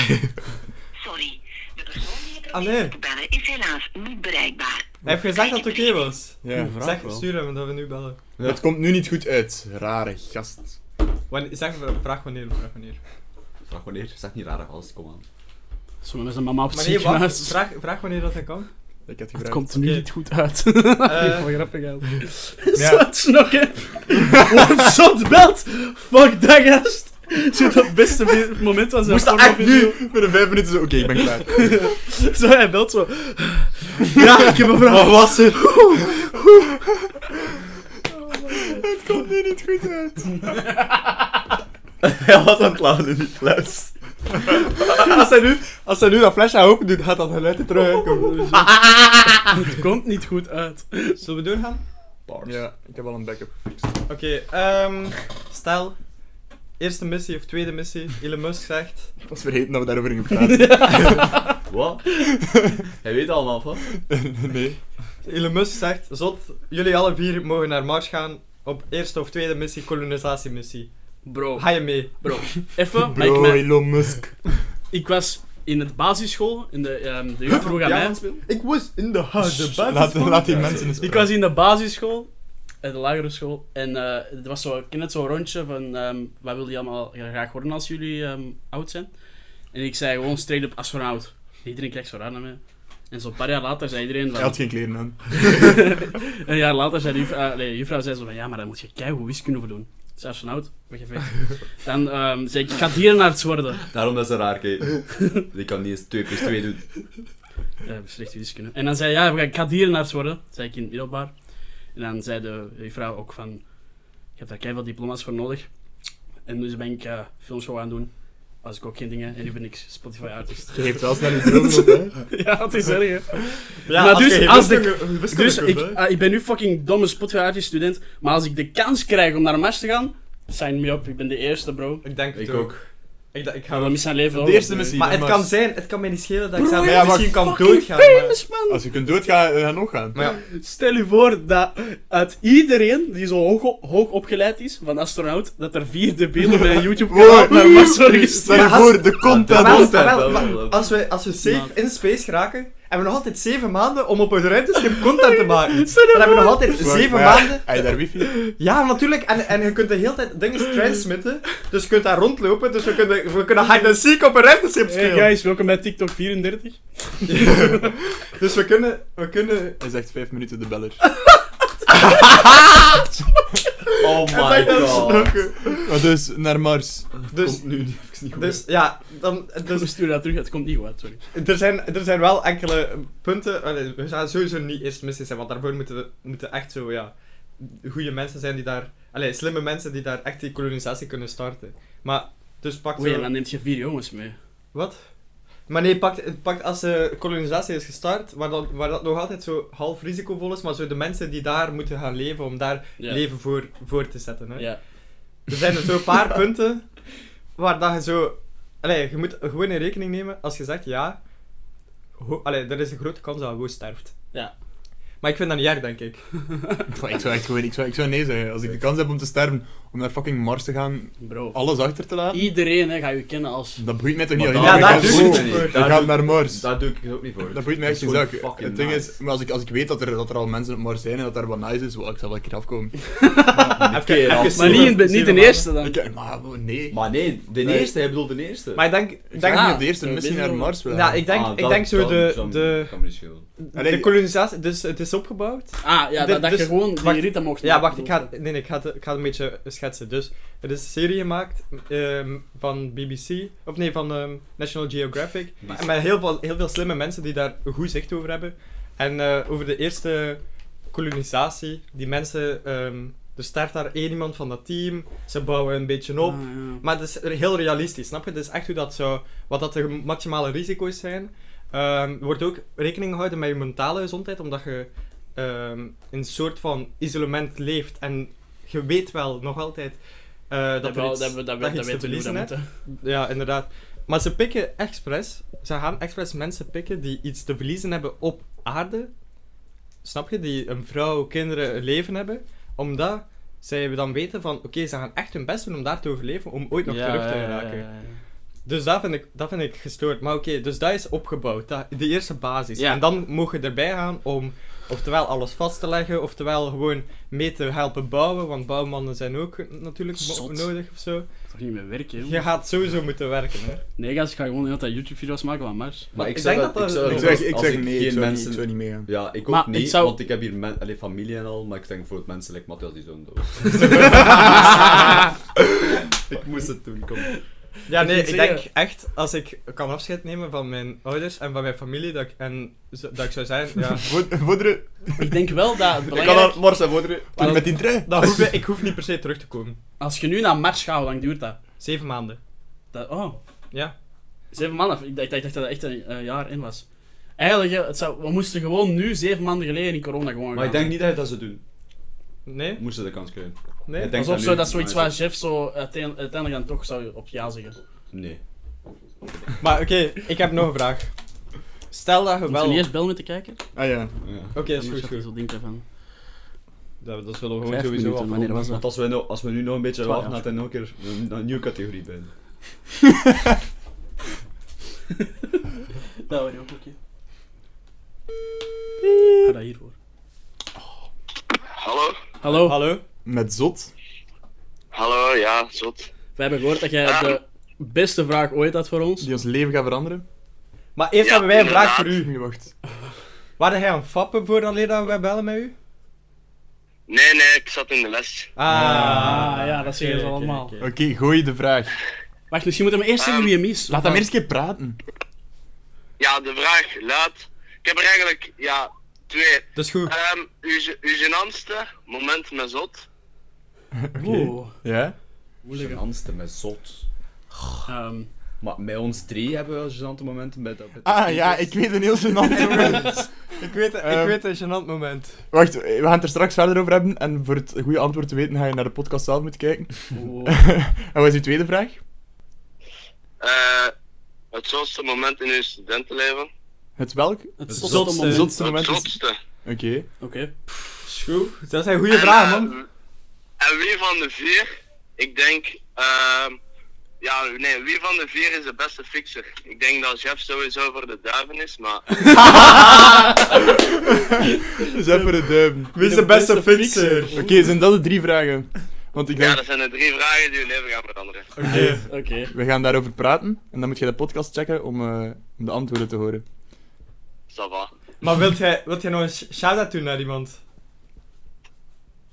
Speaker 6: Sorry, de persoon die je
Speaker 2: Ah,
Speaker 6: probeert
Speaker 2: nee.
Speaker 6: te bellen is helaas niet bereikbaar.
Speaker 2: Hij heeft gezegd dat het oké was.
Speaker 4: Ja.
Speaker 1: Vraag
Speaker 2: Zeg,
Speaker 1: wel.
Speaker 2: stuur hem dat we nu bellen.
Speaker 4: Het komt nu niet goed uit. Rare gast.
Speaker 2: Wanneer, zeg, vraag wanneer, vraag wanneer.
Speaker 3: Vraag wanneer, zeg niet raar als kom aan.
Speaker 1: Sommige mensen mama op het
Speaker 2: Maar nee, wacht,
Speaker 1: ziekenhuis.
Speaker 2: vraag, vraag wanneer dat hij kan.
Speaker 4: Ik heb
Speaker 1: Het
Speaker 4: gebruikt.
Speaker 1: komt nu
Speaker 2: Oké.
Speaker 1: niet goed uit.
Speaker 2: Eh,
Speaker 1: Voor grappig uit.
Speaker 4: Ja.
Speaker 1: Zat snokken. Wordt zot belt. Fuck dat gast. Zit op het beste vi- moment van zijn
Speaker 4: Moest dat echt
Speaker 1: pornovideo.
Speaker 4: Ah, nu? Voor de vijf minuten zo, oké, ik ben klaar.
Speaker 1: Zo, hij belt zo. Ja, ik heb een vraag. Wat was er?
Speaker 4: Het komt nu niet goed uit.
Speaker 3: Hij was aan het lachen in die fles.
Speaker 4: Als hij nu, als hij nu dat flesje open doet, gaat dat geluid er terug uitkomen.
Speaker 1: Het komt niet goed uit.
Speaker 2: zullen we doorgaan?
Speaker 4: Ja, ik heb al een backup.
Speaker 2: Oké, ehm stel, eerste missie of tweede missie, Elon Musk zegt...
Speaker 4: Ik was vergeten dat we daarover gingen praten.
Speaker 3: Wat? Hij weet allemaal van.
Speaker 4: nee.
Speaker 2: Elon Musk zegt, zot, jullie alle vier mogen naar Mars gaan op eerste of tweede missie, kolonisatiemissie.
Speaker 1: Bro,
Speaker 2: Ga je mee?
Speaker 1: bro. Even, maar ik,
Speaker 4: Bro,
Speaker 1: me-
Speaker 4: Elon Musk.
Speaker 1: ik was in het basisschool, in de, ehm de jeugd vroeg aan mij.
Speaker 3: Ik was in de
Speaker 4: Shh, laat, laat die mensen eens
Speaker 1: Ik was in de basisschool, eh, de lagere school, en eh het was zo, ik ken het zo'n rondje van ehm, wat wil je allemaal graag worden als jullie ehm, oud zijn? En ik zei gewoon straight up astronaut. Iedereen kijkt zo raar naar mij. En zo'n paar jaar later zei iedereen
Speaker 4: Hij
Speaker 1: van...
Speaker 4: had geen kleren aan.
Speaker 1: een jaar later zei de juffrouw, eh, nee, de juffrouw zei zo van, ja, maar dan moet je keigoed wiskunde voor doen. Ik zei, astronaut, weggeveegd. Dan ehm, zei ik, ik ga dierenarts worden.
Speaker 3: Daarom dat ze raar kijken. Die kan niet eens 2 plus 2 doen.
Speaker 1: Eh, slechte wiskunde. En dan zei hij, ja, ik ga dierenarts worden. zei ik in het middelbaar. En dan zei de juffrouw ook van, je hebt daar keihard diploma's voor nodig. En dus ben ik eh, filmshow aan het doen. Was ik ook geen dingen. En nu ben ik Spotify artist.
Speaker 4: Je heeft wel snel iets droog, hè?
Speaker 1: ja, dat is erg, hè.
Speaker 2: Ja,
Speaker 1: Maar dus,
Speaker 2: je
Speaker 1: als de-
Speaker 2: wiskunde- wiskunde
Speaker 1: Dus
Speaker 2: kunt,
Speaker 1: ik,
Speaker 2: hè.
Speaker 1: eh, ik ben nu fucking domme Spotify artist student. Maar als ik de kans krijg om naar Mars te gaan, sign me up. Ik ben de eerste, bro.
Speaker 2: Ik denk het
Speaker 3: Ik ook.
Speaker 2: Ik, d- ik ga
Speaker 1: Gaan we mis zijn leven
Speaker 4: De
Speaker 1: hoor.
Speaker 4: eerste missie.
Speaker 2: Maar het
Speaker 4: dan
Speaker 2: kan zijn, het kan mij niet schelen dat ik
Speaker 1: Broer,
Speaker 2: zelf
Speaker 4: ja, maar
Speaker 2: misschien kan
Speaker 1: fucking
Speaker 2: doodgaan. Maar...
Speaker 1: Famous, man.
Speaker 4: Als je kunt doodgaan, dan nog gaan.
Speaker 2: maar ja,
Speaker 1: Stel je voor dat uit iedereen die zo hoog, hoog opgeleid is, van astronaut, dat er vier debielen bij een YouTube-kanaal
Speaker 4: Wow.
Speaker 1: naar Mars
Speaker 4: Stel
Speaker 1: worden gestuurd.
Speaker 4: je
Speaker 2: Maar als-
Speaker 4: voor, de content.
Speaker 2: Maar wel,
Speaker 3: Content,
Speaker 2: maar wel,
Speaker 3: wel,
Speaker 2: maar
Speaker 3: wel.
Speaker 2: als, we, als we safe
Speaker 1: Maar-
Speaker 2: in space geraken, hebben we nog altijd 7 maanden om op een ruimteschip content te maken. Dan
Speaker 1: Stel je
Speaker 2: hebben we nog
Speaker 1: voor.
Speaker 2: altijd 7
Speaker 4: Maar ja,
Speaker 2: maanden.
Speaker 4: Heb je daar wifi?
Speaker 2: Ja, natuurlijk. En, en je kunt de hele tijd dingen transmitten. Dus je kunt daar rondlopen. Dus we kunnen, we kunnen hide and seek op een ruimteschip
Speaker 1: Hey
Speaker 2: spelen.
Speaker 1: guys, welkom bij TikTok 34.
Speaker 2: dus we kunnen, we kunnen...
Speaker 4: Hij zegt vijf minuten de beller.
Speaker 3: Oh my god.
Speaker 4: Maar dus, naar Mars.
Speaker 2: Dus,
Speaker 3: nu niet, even niet
Speaker 2: dus ja, dan,
Speaker 1: Dus we
Speaker 2: dus,
Speaker 1: sturen dat terug, het komt niet goed uit, sorry.
Speaker 2: er, zijn, er zijn wel enkele punten... Allee, We gaan sowieso niet eerst missen zijn, want daarvoor moeten we moeten echt zo, ja... Goede mensen zijn die daar... Allee, slimme mensen die daar echt die kolonisatie kunnen starten. Maar, dus pak
Speaker 1: Oei, en
Speaker 2: zo...
Speaker 1: dan neemt je vier jongens mee.
Speaker 2: Wat? Maar nee, pakt, pakt als de kolonisatie is gestart, waar, dan, waar dat nog altijd zo half risicovol is, maar zo de mensen die daar moeten gaan leven om daar
Speaker 1: Ja.
Speaker 2: leven voor, voor te zetten. Hè.
Speaker 1: Ja.
Speaker 2: Er zijn er zo'n paar punten waar dat je zo... Allee, je moet gewoon in rekening nemen als je zegt ja, ho, allee, er is een grote kans dat je gewoon sterft.
Speaker 1: Ja.
Speaker 2: Maar ik vind dat niet erg, denk ik.
Speaker 4: Maar ik zou echt gewoon, ik zou, ik zou nee zeggen. Als ik de kans heb om te sterven, om naar fucking Mars te gaan,
Speaker 1: Bro.
Speaker 4: alles achter te laten,
Speaker 1: Iedereen hè, ga je kennen als...
Speaker 4: dat boeit mij toch niet.
Speaker 3: Maar
Speaker 4: alleen maar
Speaker 2: daar- Ja,
Speaker 4: ik
Speaker 2: daar
Speaker 4: ga-
Speaker 2: doe
Speaker 4: Oh,
Speaker 2: ik het niet voor.
Speaker 4: Ik
Speaker 3: Daar
Speaker 4: ga
Speaker 3: doe-
Speaker 4: naar Mars.
Speaker 3: Daar doe ik het ook niet voor.
Speaker 4: Dat boeit mij
Speaker 3: Dat
Speaker 4: echt
Speaker 3: is
Speaker 4: geen
Speaker 3: gewoon
Speaker 4: zak.
Speaker 3: fucking
Speaker 4: Het ding
Speaker 3: nice.
Speaker 4: is, maar als ik, als ik weet dat er, dat er al mensen op Mars zijn en dat daar wat nice is, wel, ik zal wel een keer afkomen.
Speaker 2: Even- even
Speaker 3: Maar
Speaker 1: Maar
Speaker 2: zeven-
Speaker 1: niet, in- niet
Speaker 2: zeven
Speaker 1: de eerste dan.
Speaker 4: Ik, maar oh, nee.
Speaker 3: Maar nee, de
Speaker 4: Nee.
Speaker 3: eerste, hij bedoelt de eerste.
Speaker 2: Maar ik denk...
Speaker 4: ik
Speaker 2: denk
Speaker 4: denk
Speaker 1: Ah,
Speaker 4: niet op de eerste
Speaker 1: dat
Speaker 4: missie
Speaker 1: weet ik
Speaker 4: naar
Speaker 1: wel.
Speaker 4: Mars wel.
Speaker 2: ja, ik denk,
Speaker 3: Ah,
Speaker 2: ik
Speaker 3: dat-
Speaker 2: denk zo
Speaker 3: dat-
Speaker 2: de,
Speaker 3: dat-
Speaker 2: de,
Speaker 3: dat kan me niet schelen.
Speaker 2: de
Speaker 4: Allee.
Speaker 2: kolonisatie... Dus het is opgebouwd.
Speaker 1: Ah, ja,
Speaker 2: Dit-
Speaker 1: dat, dat
Speaker 2: dus-
Speaker 1: je gewoon die
Speaker 2: wacht.
Speaker 1: rita mocht
Speaker 2: Ja, wacht, ik
Speaker 1: maken. Ah,
Speaker 2: ga, het- nee, nee, ik, ga het, ik ga het een beetje schetsen. Dus, er is een serie gemaakt ehm, van BBC, of nee, van ehm, National Geographic.
Speaker 3: BBC.
Speaker 2: En met heel veel, heel veel slimme mensen die daar een goed zicht over hebben. En eh, over de eerste kolonisatie, die mensen, ehm er start daar één iemand van dat team, ze bouwen een beetje op.
Speaker 1: Ah, ja.
Speaker 2: Maar het is heel realistisch, snap je? Het is echt hoe dat zo, wat dat de maximale risico's zijn. Ehm, er wordt ook rekening gehouden met je mentale gezondheid, omdat je ehm, in een soort van isolement leeft. En je weet wel nog altijd eh, dat,
Speaker 1: Dat
Speaker 2: er
Speaker 1: wel-
Speaker 2: iets,
Speaker 1: dat we- dat we-
Speaker 2: je
Speaker 1: dat
Speaker 2: iets te
Speaker 1: weten we hoe
Speaker 2: verliezen
Speaker 1: dat
Speaker 2: hebt.
Speaker 1: moeten.
Speaker 2: Ja, inderdaad. Maar ze pikken expres, ze gaan expres mensen pikken die iets te verliezen hebben op aarde. Snap je? Die een vrouw, kinderen, een leven hebben. Omdat zij dan weten van, oké, ze gaan echt hun best doen om daar te overleven, om ooit nog terug te
Speaker 1: ja, ja,
Speaker 2: raken.
Speaker 1: ja, ja.
Speaker 2: Dus dat vind ik, dat vind ik gestoord. Maar oké, dus dat is opgebouwd. Dat, de eerste basis.
Speaker 1: Ja.
Speaker 2: En dan mogen je erbij gaan om oftewel alles vast te leggen, oftewel gewoon mee te helpen bouwen. Want bouwmannen zijn ook eh, natuurlijk bo-
Speaker 1: Zot.
Speaker 2: nodig of zo.
Speaker 1: Toch niet meer werken, joh.
Speaker 2: Je gaat sowieso moeten werken. Hè.
Speaker 1: Nee, gast, ik ga gewoon heel dat YouTube-video's maken van Mars.
Speaker 3: Maar
Speaker 2: Ik
Speaker 3: ik
Speaker 2: denk
Speaker 3: zou
Speaker 2: dat
Speaker 3: dat...
Speaker 2: dat-
Speaker 3: Ik zou
Speaker 4: Ik
Speaker 3: dat
Speaker 4: zeg,
Speaker 3: als-
Speaker 4: ik
Speaker 3: als
Speaker 4: zeg
Speaker 3: ik
Speaker 4: nee, ik
Speaker 3: geen
Speaker 4: zou, niet, ik
Speaker 3: mensen...
Speaker 4: zou niet meegaan.
Speaker 3: Ja, ik ook
Speaker 1: Maar
Speaker 3: niet,
Speaker 1: ik zou-
Speaker 3: want ik heb hier men, allee, familie en al, maar ik denk bijvoorbeeld mensen like Matthias die zo'n dood. ik moest het doen, kom.
Speaker 2: Ja,
Speaker 1: Ik
Speaker 2: nee,
Speaker 1: moet
Speaker 2: ik
Speaker 1: zeggen-
Speaker 2: denk echt, als ik kan afscheid nemen van mijn ouders en van mijn familie, dat ik, en, zo- dat ik zou zijn, ja...
Speaker 4: Vo- Voederen,
Speaker 1: Ik denk wel dat het
Speaker 3: Ik kan
Speaker 1: belangrijk
Speaker 3: dat morgen zijn, voederen.
Speaker 4: toen met die trui.
Speaker 2: Dat hoef ik, ik hoef niet per se terug te komen.
Speaker 1: Als je nu naar Mars gaat, hoe lang duurt dat?
Speaker 2: Zeven maanden.
Speaker 1: dat oh,
Speaker 2: Ja.
Speaker 1: zeven maanden. Ik dacht, ik dacht dat dat echt een eh, jaar in was. Eigenlijk, eh, het zou, we moesten gewoon nu, zeven maanden geleden, in corona gewoon
Speaker 3: Maar ik
Speaker 1: gaan.
Speaker 3: denk niet dat je dat zou doen.
Speaker 2: Nee?
Speaker 3: Moesten de kans krijgen.
Speaker 2: Nee?
Speaker 3: Ik denk
Speaker 1: Alsof
Speaker 3: dat
Speaker 1: zo,
Speaker 3: nu-
Speaker 1: dat is zoiets
Speaker 3: maar
Speaker 1: waar Jeff zo uiteen- uiteindelijk dan toch zou op ja zeggen. Moet
Speaker 3: Nee.
Speaker 2: Maar oké, ik heb nog een vraag. Stel dat je
Speaker 1: je
Speaker 2: wel...
Speaker 1: niet
Speaker 2: Oké,
Speaker 1: eerst bel moeten kijken?
Speaker 4: Ah ja.
Speaker 3: Ja.
Speaker 2: is goed, goed.
Speaker 1: Zo denken van.
Speaker 2: Dat, dat zullen we gewoon
Speaker 1: Vijf
Speaker 2: sowieso
Speaker 1: minuten, wanneer
Speaker 2: afronden.
Speaker 1: was dat?
Speaker 3: Want als we, nou, als we nu nog een beetje
Speaker 1: Twaalf.
Speaker 3: wachten, gaat hij nog een keer een, een nieuwe categorie bij.
Speaker 1: Dat hoor je ook, oké. Ga dat hiervoor.
Speaker 6: Hallo?
Speaker 1: Hallo,
Speaker 2: Hallo?
Speaker 4: Met zot.
Speaker 6: Hallo, ja, zot.
Speaker 1: we hebben gehoord dat jij de beste vraag ooit had voor ons.
Speaker 4: Die ons leven gaat veranderen.
Speaker 2: Maar eerst
Speaker 6: Ja,
Speaker 2: hebben wij een vraag
Speaker 6: inderdaad.
Speaker 2: voor u.
Speaker 4: Nu wacht.
Speaker 2: Waren jij aan het fappen voor alleen dat wij bellen met u?
Speaker 6: Nee, nee, ik zat in de les.
Speaker 2: Ah,
Speaker 1: Ah, ja, dat zeggen ze
Speaker 2: oké, oké,
Speaker 1: allemaal.
Speaker 2: oké.
Speaker 4: Oké, gooi de vraag.
Speaker 1: Wacht, misschien moeten we eerst zeggen wie hem is.
Speaker 4: Laat hem eerst een keer praten.
Speaker 6: Ja, de vraag luidt... Ik heb er eigenlijk, ja, twee.
Speaker 2: Dat is goed.
Speaker 6: Ehm uw, ge- uw gênantste moment met zot.
Speaker 1: Oeh,
Speaker 4: Ja?
Speaker 1: moeilijke.
Speaker 3: Genantste met zot.
Speaker 1: Ehm,
Speaker 3: Maar met ons drie hebben we wel gênante momenten bij dat. met de
Speaker 4: Ah
Speaker 3: speakers.
Speaker 4: ja, ik weet een heel gênant moment.
Speaker 2: Ik weet, ik
Speaker 4: Ehm.
Speaker 2: weet een gênant moment.
Speaker 4: Wacht, we gaan het er straks verder over hebben. En voor het goede antwoord te weten ga je naar de podcast zelf moeten kijken.
Speaker 1: oeh.
Speaker 4: En wat is uw tweede vraag?
Speaker 6: Eh het zotste moment in uw studentenleven.
Speaker 4: Het welk?
Speaker 1: Het
Speaker 3: Het
Speaker 1: zotste
Speaker 2: zotste.
Speaker 1: moment.
Speaker 4: zotste
Speaker 6: Het
Speaker 4: moment is-
Speaker 6: zotste.
Speaker 4: Oké.
Speaker 1: Oké.
Speaker 2: Goed, dat zijn goede vragen, man.
Speaker 6: eh, en wie van de vier, ik denk... ehm ja, nee, wie van de vier is de beste fixer? Ik denk dat Jeff sowieso voor de duiven is, maar...
Speaker 4: Dus even de duim.
Speaker 2: Wie is de beste fixer?
Speaker 4: Oké, zijn dat de drie vragen? Want ik
Speaker 6: Ja,
Speaker 4: denk,
Speaker 6: dat zijn de drie vragen die uw leven gaan veranderen.
Speaker 2: Oké.
Speaker 1: Oké.
Speaker 4: we gaan daarover praten. En dan moet je de podcast checken om, eh, om de antwoorden te horen.
Speaker 6: Ça va.
Speaker 2: Maar wilt jij, wilt jij nog een sh- shout-out doen naar iemand?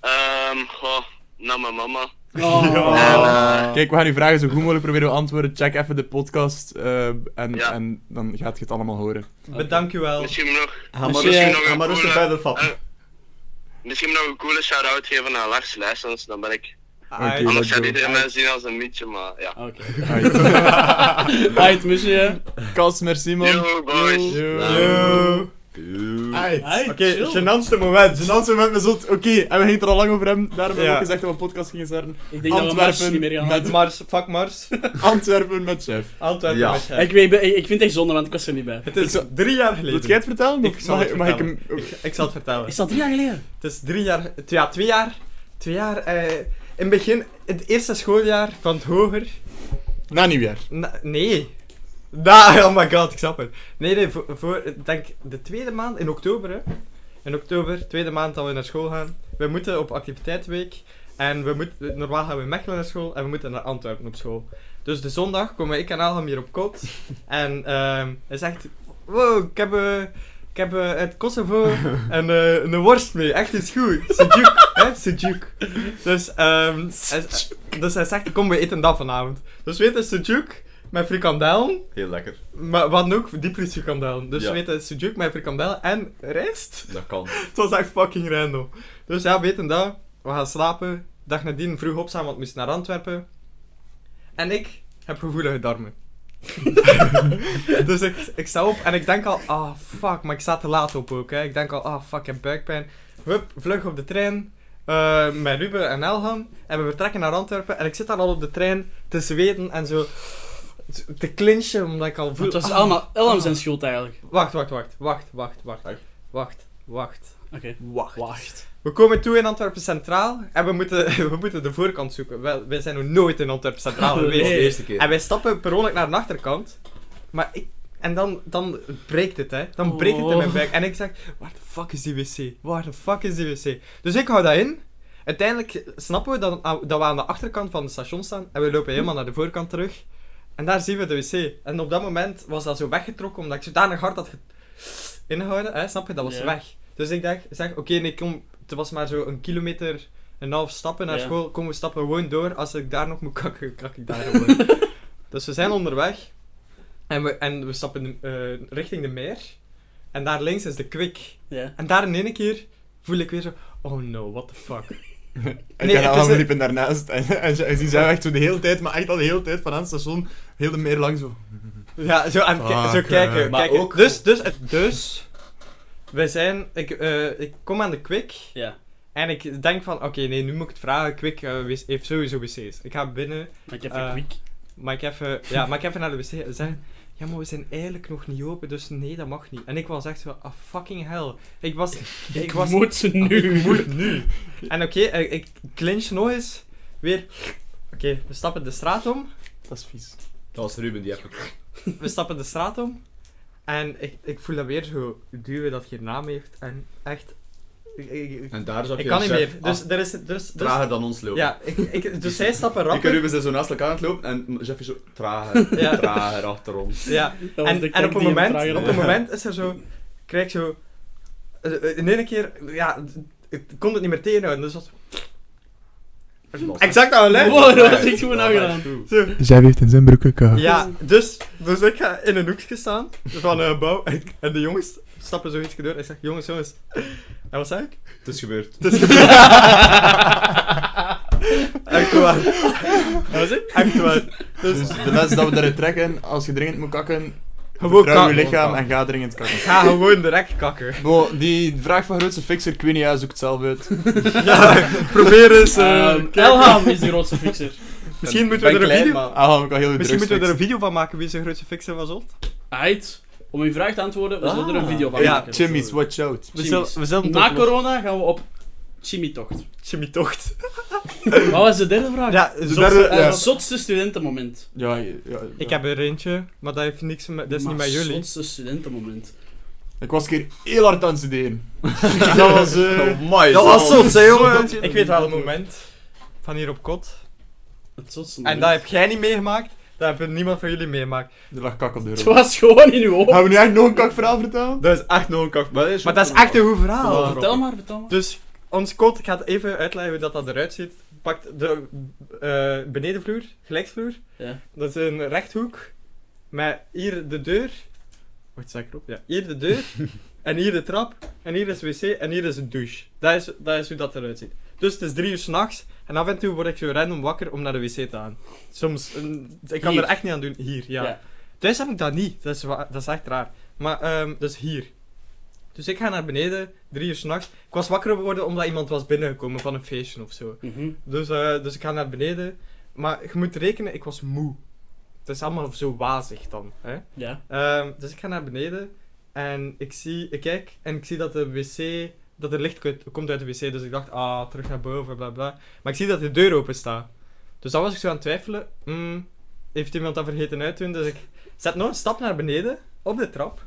Speaker 6: Ehm, goh, naar mijn mama.
Speaker 1: Oh.
Speaker 4: Kijk, we gaan uw vragen zo goed mogelijk proberen te beantwoorden. Check even de podcast. eh, en,
Speaker 6: Ja.
Speaker 4: en dan gaat je het allemaal horen.
Speaker 2: Bedankt Ehm, u wel.
Speaker 6: Misschien nog,
Speaker 3: Ga maar
Speaker 1: Misschien-
Speaker 3: rustig-
Speaker 6: nog
Speaker 3: ga
Speaker 6: een
Speaker 3: maar rustig
Speaker 6: coole- Eh,
Speaker 3: verder vatten.
Speaker 6: misschien nog een coole shout-out geven aan Lars Lessons, dan ben ik...
Speaker 2: Ai.
Speaker 4: Oké.
Speaker 6: Anders
Speaker 4: dat
Speaker 6: gaat
Speaker 4: doe.
Speaker 6: iedereen mij zien als een mietje, maar ja.
Speaker 1: Oké. Ah,
Speaker 4: Right.
Speaker 1: Uit, monsieur.
Speaker 4: Kas, merci man.
Speaker 6: Yo, boys.
Speaker 4: Yo.
Speaker 2: Yo. Ah.
Speaker 1: Uit,
Speaker 2: Oké,
Speaker 1: chill.
Speaker 2: gênantste moment.
Speaker 4: Zijn antwoord met me zot. Oké, en we gingen het er al lang over hebben. Daarom hebben
Speaker 2: Ja.
Speaker 4: we ook gezegd dat we een podcast gingen starten.
Speaker 1: Ik denk dat we Mars
Speaker 4: Antwerpen
Speaker 1: niet meer gaan
Speaker 4: met-
Speaker 1: halen.
Speaker 2: Mars, fuck Mars.
Speaker 4: Antwerpen met chef.
Speaker 2: Antwerpen
Speaker 3: Ja.
Speaker 2: met jij.
Speaker 1: Ik, weet, ik, ik vind het echt zonde, want ik was er niet bij.
Speaker 2: Het is drie jaar geleden.
Speaker 4: Wilt jij het vertellen?
Speaker 2: Ik
Speaker 4: Of
Speaker 2: zal
Speaker 4: mag,
Speaker 2: het
Speaker 4: mag ik hem... oh.
Speaker 2: vertellen. ik, ik zal het vertellen.
Speaker 1: Is dat drie jaar geleden?
Speaker 2: Het is drie jaar, t- ja, twee jaar. Twee jaar, eh, in het begin, het eerste schooljaar van het hoger.
Speaker 4: Na nieuwjaar.
Speaker 2: Na- nee. Na, oh my god, ik snap het. Nee, nee, voor, voor, ik denk de tweede maand, in oktober, hè. In oktober, tweede maand dat we naar school gaan. We moeten op activiteitsweek. En we moeten, normaal gaan we in Mechelen naar school en we moeten naar Antwerpen op school. Dus de zondag komen ik en Alham hier op kot. En ehm hij zegt, wow, ik heb, eh, ik heb eh, uit Kosovo een, eh, een worst mee. Echt is goed. Sujuk, hè, sujuk. Dus, ehm, hij, dus hij zegt, kom, we eten dat vanavond. Dus we eten sujuk met frikandellen.
Speaker 3: Heel lekker.
Speaker 2: Maar we hadden ook diepere frikandellen. Dus
Speaker 3: Ja.
Speaker 2: we eten sujuk met frikandellen en rijst.
Speaker 3: Dat kan.
Speaker 2: Het was echt fucking random. Dus ja, weten dat. We gaan slapen. Dag nadien vroeg opstaan, want we moesten naar Antwerpen. En ik heb gevoelige darmen. dus ik, ik sta op en ik denk al, ah fuck, maar ik sta te laat op ook. Hè. Ik denk al, ah fuck, ik heb buikpijn. Hup, vlug op de trein. eh, met Ruben en Elham. En we vertrekken naar Antwerpen. En ik zit daar al op de trein te zweten en zo te clinchen, omdat ik al voel...
Speaker 1: Het was
Speaker 2: ah.
Speaker 1: allemaal Elham zijn schuld eigenlijk.
Speaker 2: Wacht, wacht, wacht, wacht, wacht, wacht.
Speaker 3: Echt?
Speaker 2: Wacht, wacht.
Speaker 1: Oké.
Speaker 3: Wacht.
Speaker 1: Wacht.
Speaker 2: We komen toe in Antwerpen Centraal en we moeten, we moeten de voorkant zoeken. Wij, wij zijn nog nooit in Antwerpen Centraal
Speaker 1: Nee.
Speaker 2: geweest.
Speaker 3: de eerste keer.
Speaker 2: En wij stappen per ongeluk naar de achterkant. Maar ik... En dan, dan breekt het, hè. Dan breekt het in mijn
Speaker 1: Oh.
Speaker 2: buik. En ik zeg, waar de fuck is die wc? Waar de fuck is die wc? Dus ik hou dat in. Uiteindelijk snappen we dat, dat we aan de achterkant van het station staan. En we lopen helemaal naar de voorkant terug. En daar zien we de wc. En op dat moment was dat zo weggetrokken, omdat ik zodanig hard had ge- ingehouden. Hè, snap je? Dat was
Speaker 1: Ja.
Speaker 2: weg. Dus ik dacht, zeg, oké, nee, kom... Het was maar zo een kilometer en een half stappen naar
Speaker 1: Ja.
Speaker 2: school. Kom, we stappen gewoon door. Als ik daar nog moet kakken, kak ik daar gewoon. dus we zijn onderweg. En we, en we stappen eh, richting de meer. En daar links is de kwik.
Speaker 1: Ja.
Speaker 2: En daar in één keer voel ik weer zo... Oh no, what the fuck.
Speaker 4: En
Speaker 2: Nee,
Speaker 4: nee,
Speaker 2: het
Speaker 4: Jan
Speaker 2: is
Speaker 4: Almen
Speaker 2: een-
Speaker 4: liepen daarnaast. En, en, ze- en die zijn echt zo de hele tijd, maar echt al de hele tijd van aan het station, heel de meer lang zo.
Speaker 2: Ja, zo, aan het ki-
Speaker 4: Fuck,
Speaker 2: zo kijken.
Speaker 4: eh.
Speaker 2: Maar
Speaker 3: Maar
Speaker 2: kijken.
Speaker 3: ook-
Speaker 2: Dus, dus, het- dus... Wij zijn... Ik, eh, ik kom aan de kwik.
Speaker 1: Ja.
Speaker 2: En ik denk van... Oké, nee, nu moet ik het vragen. Kwik eh, wc- heeft sowieso wc's. Ik ga binnen...
Speaker 1: Maar ik heb
Speaker 2: Eh,
Speaker 1: een quick.
Speaker 2: Maar ik even, ja, maar ik even naar de wc zeggen. Ja, maar we zijn eigenlijk nog niet open, dus nee, dat mag niet. En ik was echt zo, ah, fucking hell. Ik was... Ik,
Speaker 1: Ik
Speaker 2: was Ah,
Speaker 1: moet ze nu.
Speaker 2: ik moet nu. En oké, eh, ik clinch nog eens. Weer... Oké, we stappen de straat om.
Speaker 4: Dat is vies.
Speaker 3: Dat was Ruben die even...
Speaker 2: We stappen de straat om. En ik, ik voel dat weer zo duwen dat je naam heeft. En echt... Ik, ik, ik-
Speaker 3: En daar zag je
Speaker 2: ik kan
Speaker 3: een
Speaker 2: niet
Speaker 3: chef Ah.
Speaker 2: meer. Dus
Speaker 3: af-
Speaker 2: er is... Dus, dus,
Speaker 3: trager dan ons lopen.
Speaker 2: ja, ik, ik, dus zij stappen
Speaker 3: Ik en
Speaker 2: rapper.
Speaker 3: Ruben zijn zo naast elkaar aan het lopen en Jeff is zo trager,
Speaker 2: Ja.
Speaker 3: trager achter ons.
Speaker 2: Ja,
Speaker 1: Dat was de
Speaker 2: En, en
Speaker 1: kak
Speaker 2: op
Speaker 1: die
Speaker 2: een
Speaker 1: hem
Speaker 2: moment,
Speaker 1: trager
Speaker 2: op
Speaker 1: had.
Speaker 2: een moment is er zo, krijg ik zo, eh, eh, in één keer, ja, ik kon het niet meer tegenhouden, dus dat Exact al, hè?
Speaker 1: Wow, dat was echt gewoon aangedaan.
Speaker 4: Zij heeft in zijn broeken
Speaker 2: Ja, dus, dus ik ga in een hoekje staan van een gebouw en, en de jongens stappen zoiets door en ik zeg, jongens, jongens. En wat zei ik?
Speaker 3: Het is gebeurd.
Speaker 2: Het is gebeurd. Echt waar. Dat was het? Echt waar.
Speaker 4: Dus de les dat we daaruit trekken, als je dringend moet kakken,
Speaker 2: Gewoon
Speaker 4: vertrouw je
Speaker 2: kakken.
Speaker 4: lichaam en ga dringend kakken.
Speaker 2: Ga gewoon direct kakken.
Speaker 4: Bo, die vraag van grootste fixer, ik weet niet, hij zoekt zelf uit.
Speaker 2: Ja, probeer eens. eh,
Speaker 1: Ehm, Elham is de grootste fixer.
Speaker 2: misschien moeten we er een video...
Speaker 4: Ah, ik kan heel goed
Speaker 2: Misschien moeten we er een video van maken wie zijn grootste fixer was op.
Speaker 1: Uit. Om uw vraag te antwoorden, we zullen er
Speaker 2: Ah.
Speaker 1: een video van
Speaker 2: Ja,
Speaker 1: maken.
Speaker 4: Jimmy's, watch out.
Speaker 2: We
Speaker 1: Chimies.
Speaker 2: zullen, we zullen
Speaker 1: Na corona gaan we op Chimitocht.
Speaker 2: Jimmy Tocht.
Speaker 1: Wat was de derde vraag?
Speaker 2: Ja, dus
Speaker 4: Zotste-
Speaker 2: daar-
Speaker 1: Eh,
Speaker 4: ja.
Speaker 1: Zotste studentenmoment.
Speaker 4: Ja, ja, ja.
Speaker 2: ik heb er eentje, maar dat heeft niks met, dat is
Speaker 1: Maar
Speaker 2: niet met jullie.
Speaker 1: Zotste studentenmoment.
Speaker 4: Ik was een keer heel hard aan het studeren. dat was... eh,
Speaker 2: Oh,
Speaker 3: my
Speaker 2: hè
Speaker 4: dat je-
Speaker 2: Ik weet wel een moment van hier op kot.
Speaker 1: Het zotste
Speaker 2: En
Speaker 1: moment.
Speaker 2: dat heb jij niet meegemaakt, dat heeft niemand van jullie meegemaakt.
Speaker 4: Er lag kak op de
Speaker 1: Het
Speaker 4: grond.
Speaker 1: was gewoon in uw hoofd.
Speaker 4: Gaan we nu echt nog een kakverhaal vertellen?
Speaker 3: Dat is echt nog een kak. Maar dat is,
Speaker 2: Maar dat is echt een goed verhaal.
Speaker 4: Ja.
Speaker 1: Vertel maar, vertel maar.
Speaker 2: Dus ons kot, ik ga het even uitleggen hoe dat, dat eruit ziet. Pakt de eh, benedenvloer, gelijksvloer.
Speaker 1: Ja.
Speaker 2: Dat is een rechthoek. Met hier de deur. Wacht, zeg ik erop? Ja, hier de deur. en hier de trap. En hier is wc. En hier is een douche. Dat is, dat is hoe dat eruit ziet. Dus het is drie uur s'nachts. En af en toe word ik zo random wakker om naar de wc te gaan. Soms, een- ik kan
Speaker 1: Hier.
Speaker 2: er echt niet aan doen. Hier, ja.
Speaker 1: Ja.
Speaker 2: Thuis heb ik dat niet. Dat is, wa- dat is echt raar. Maar, ehm, dus hier. Dus ik ga naar beneden, drie uur s'nachts. Ik was wakker geworden omdat iemand was binnengekomen van een feestje of zo.
Speaker 1: Mhm.
Speaker 2: Dus, eh, dus ik ga naar beneden. Maar je moet rekenen, ik was moe. Het is allemaal zo wazig dan. Hè?
Speaker 1: Ja.
Speaker 2: Ehm, dus ik ga naar beneden en ik, zie, ik kijk en ik zie dat de wc, dat er licht komt- komt uit de wc. Dus ik dacht, ah, terug naar boven, bla bla. Maar ik zie dat de deur open staat. Dus dan was ik zo aan het twijfelen. Hmm, heeft iemand dat vergeten uit te doen? Dus ik zet nog een stap naar beneden, op de trap.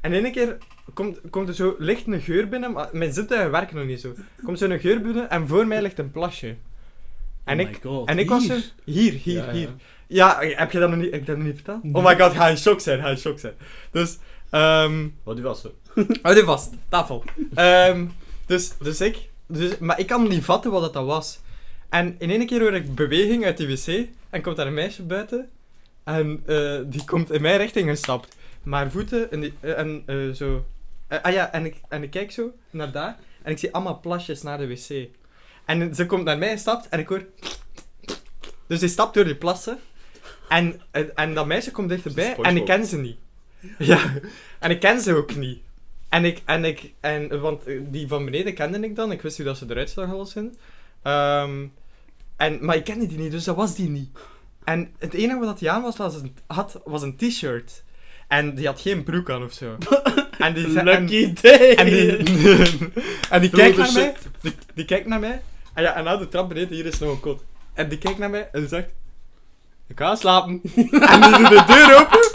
Speaker 2: En in één keer komt, komt er zo licht een geur binnen, maar mijn zintuigen werken nog niet zo. Komt zo'n geur binnen en voor mij ligt een plasje. En ik,
Speaker 1: Oh my God,
Speaker 2: en ik was
Speaker 1: hier.
Speaker 2: er... Hier, hier,
Speaker 3: Ja, ja.
Speaker 2: hier. Ja, heb je dat nog niet, heb ik dat nog niet verteld? Oh my god, ga in shock zijn, ga in shock zijn. Dus, ehm...
Speaker 3: Wat Oh, die was zo.
Speaker 2: Houd je vast, tafel. Ehm, dus, dus ik... Dus, maar ik kan niet vatten wat dat dan was. En in één keer hoor ik beweging uit die wc. En komt daar een meisje buiten. En eh, die komt in mijn richting gestapt. Maar haar voeten en, die, eh, en eh, zo... Eh, ah ja, en ik, en ik kijk zo naar daar. En ik zie allemaal plasjes naar de wc. En ze komt naar mij gestapt en ik hoor... Dus die stapt door die plassen. En, en, en dat meisje komt dichterbij en ik
Speaker 3: SpongeBob.
Speaker 2: ken ze niet. Ja, en ik ken ze ook niet. En ik, en ik, en, want eh, die van beneden kende ik dan, ik wist hoe dat ze eruit zag alles in. Ehm, en, maar ik kende die niet, dus dat was die niet. En het enige wat die aan was, was een, had, was een t-shirt. En die had geen broek aan of zo. En die, zei- en-
Speaker 1: Lucky day!
Speaker 2: En die, en die kijkt naar mij.
Speaker 3: shit.
Speaker 2: Die, die kijkt naar mij. En, ja, en na de trap beneden, hier is nog een kot. En die kijkt naar mij en die zegt... Ik ga slapen. en die doet de deur open.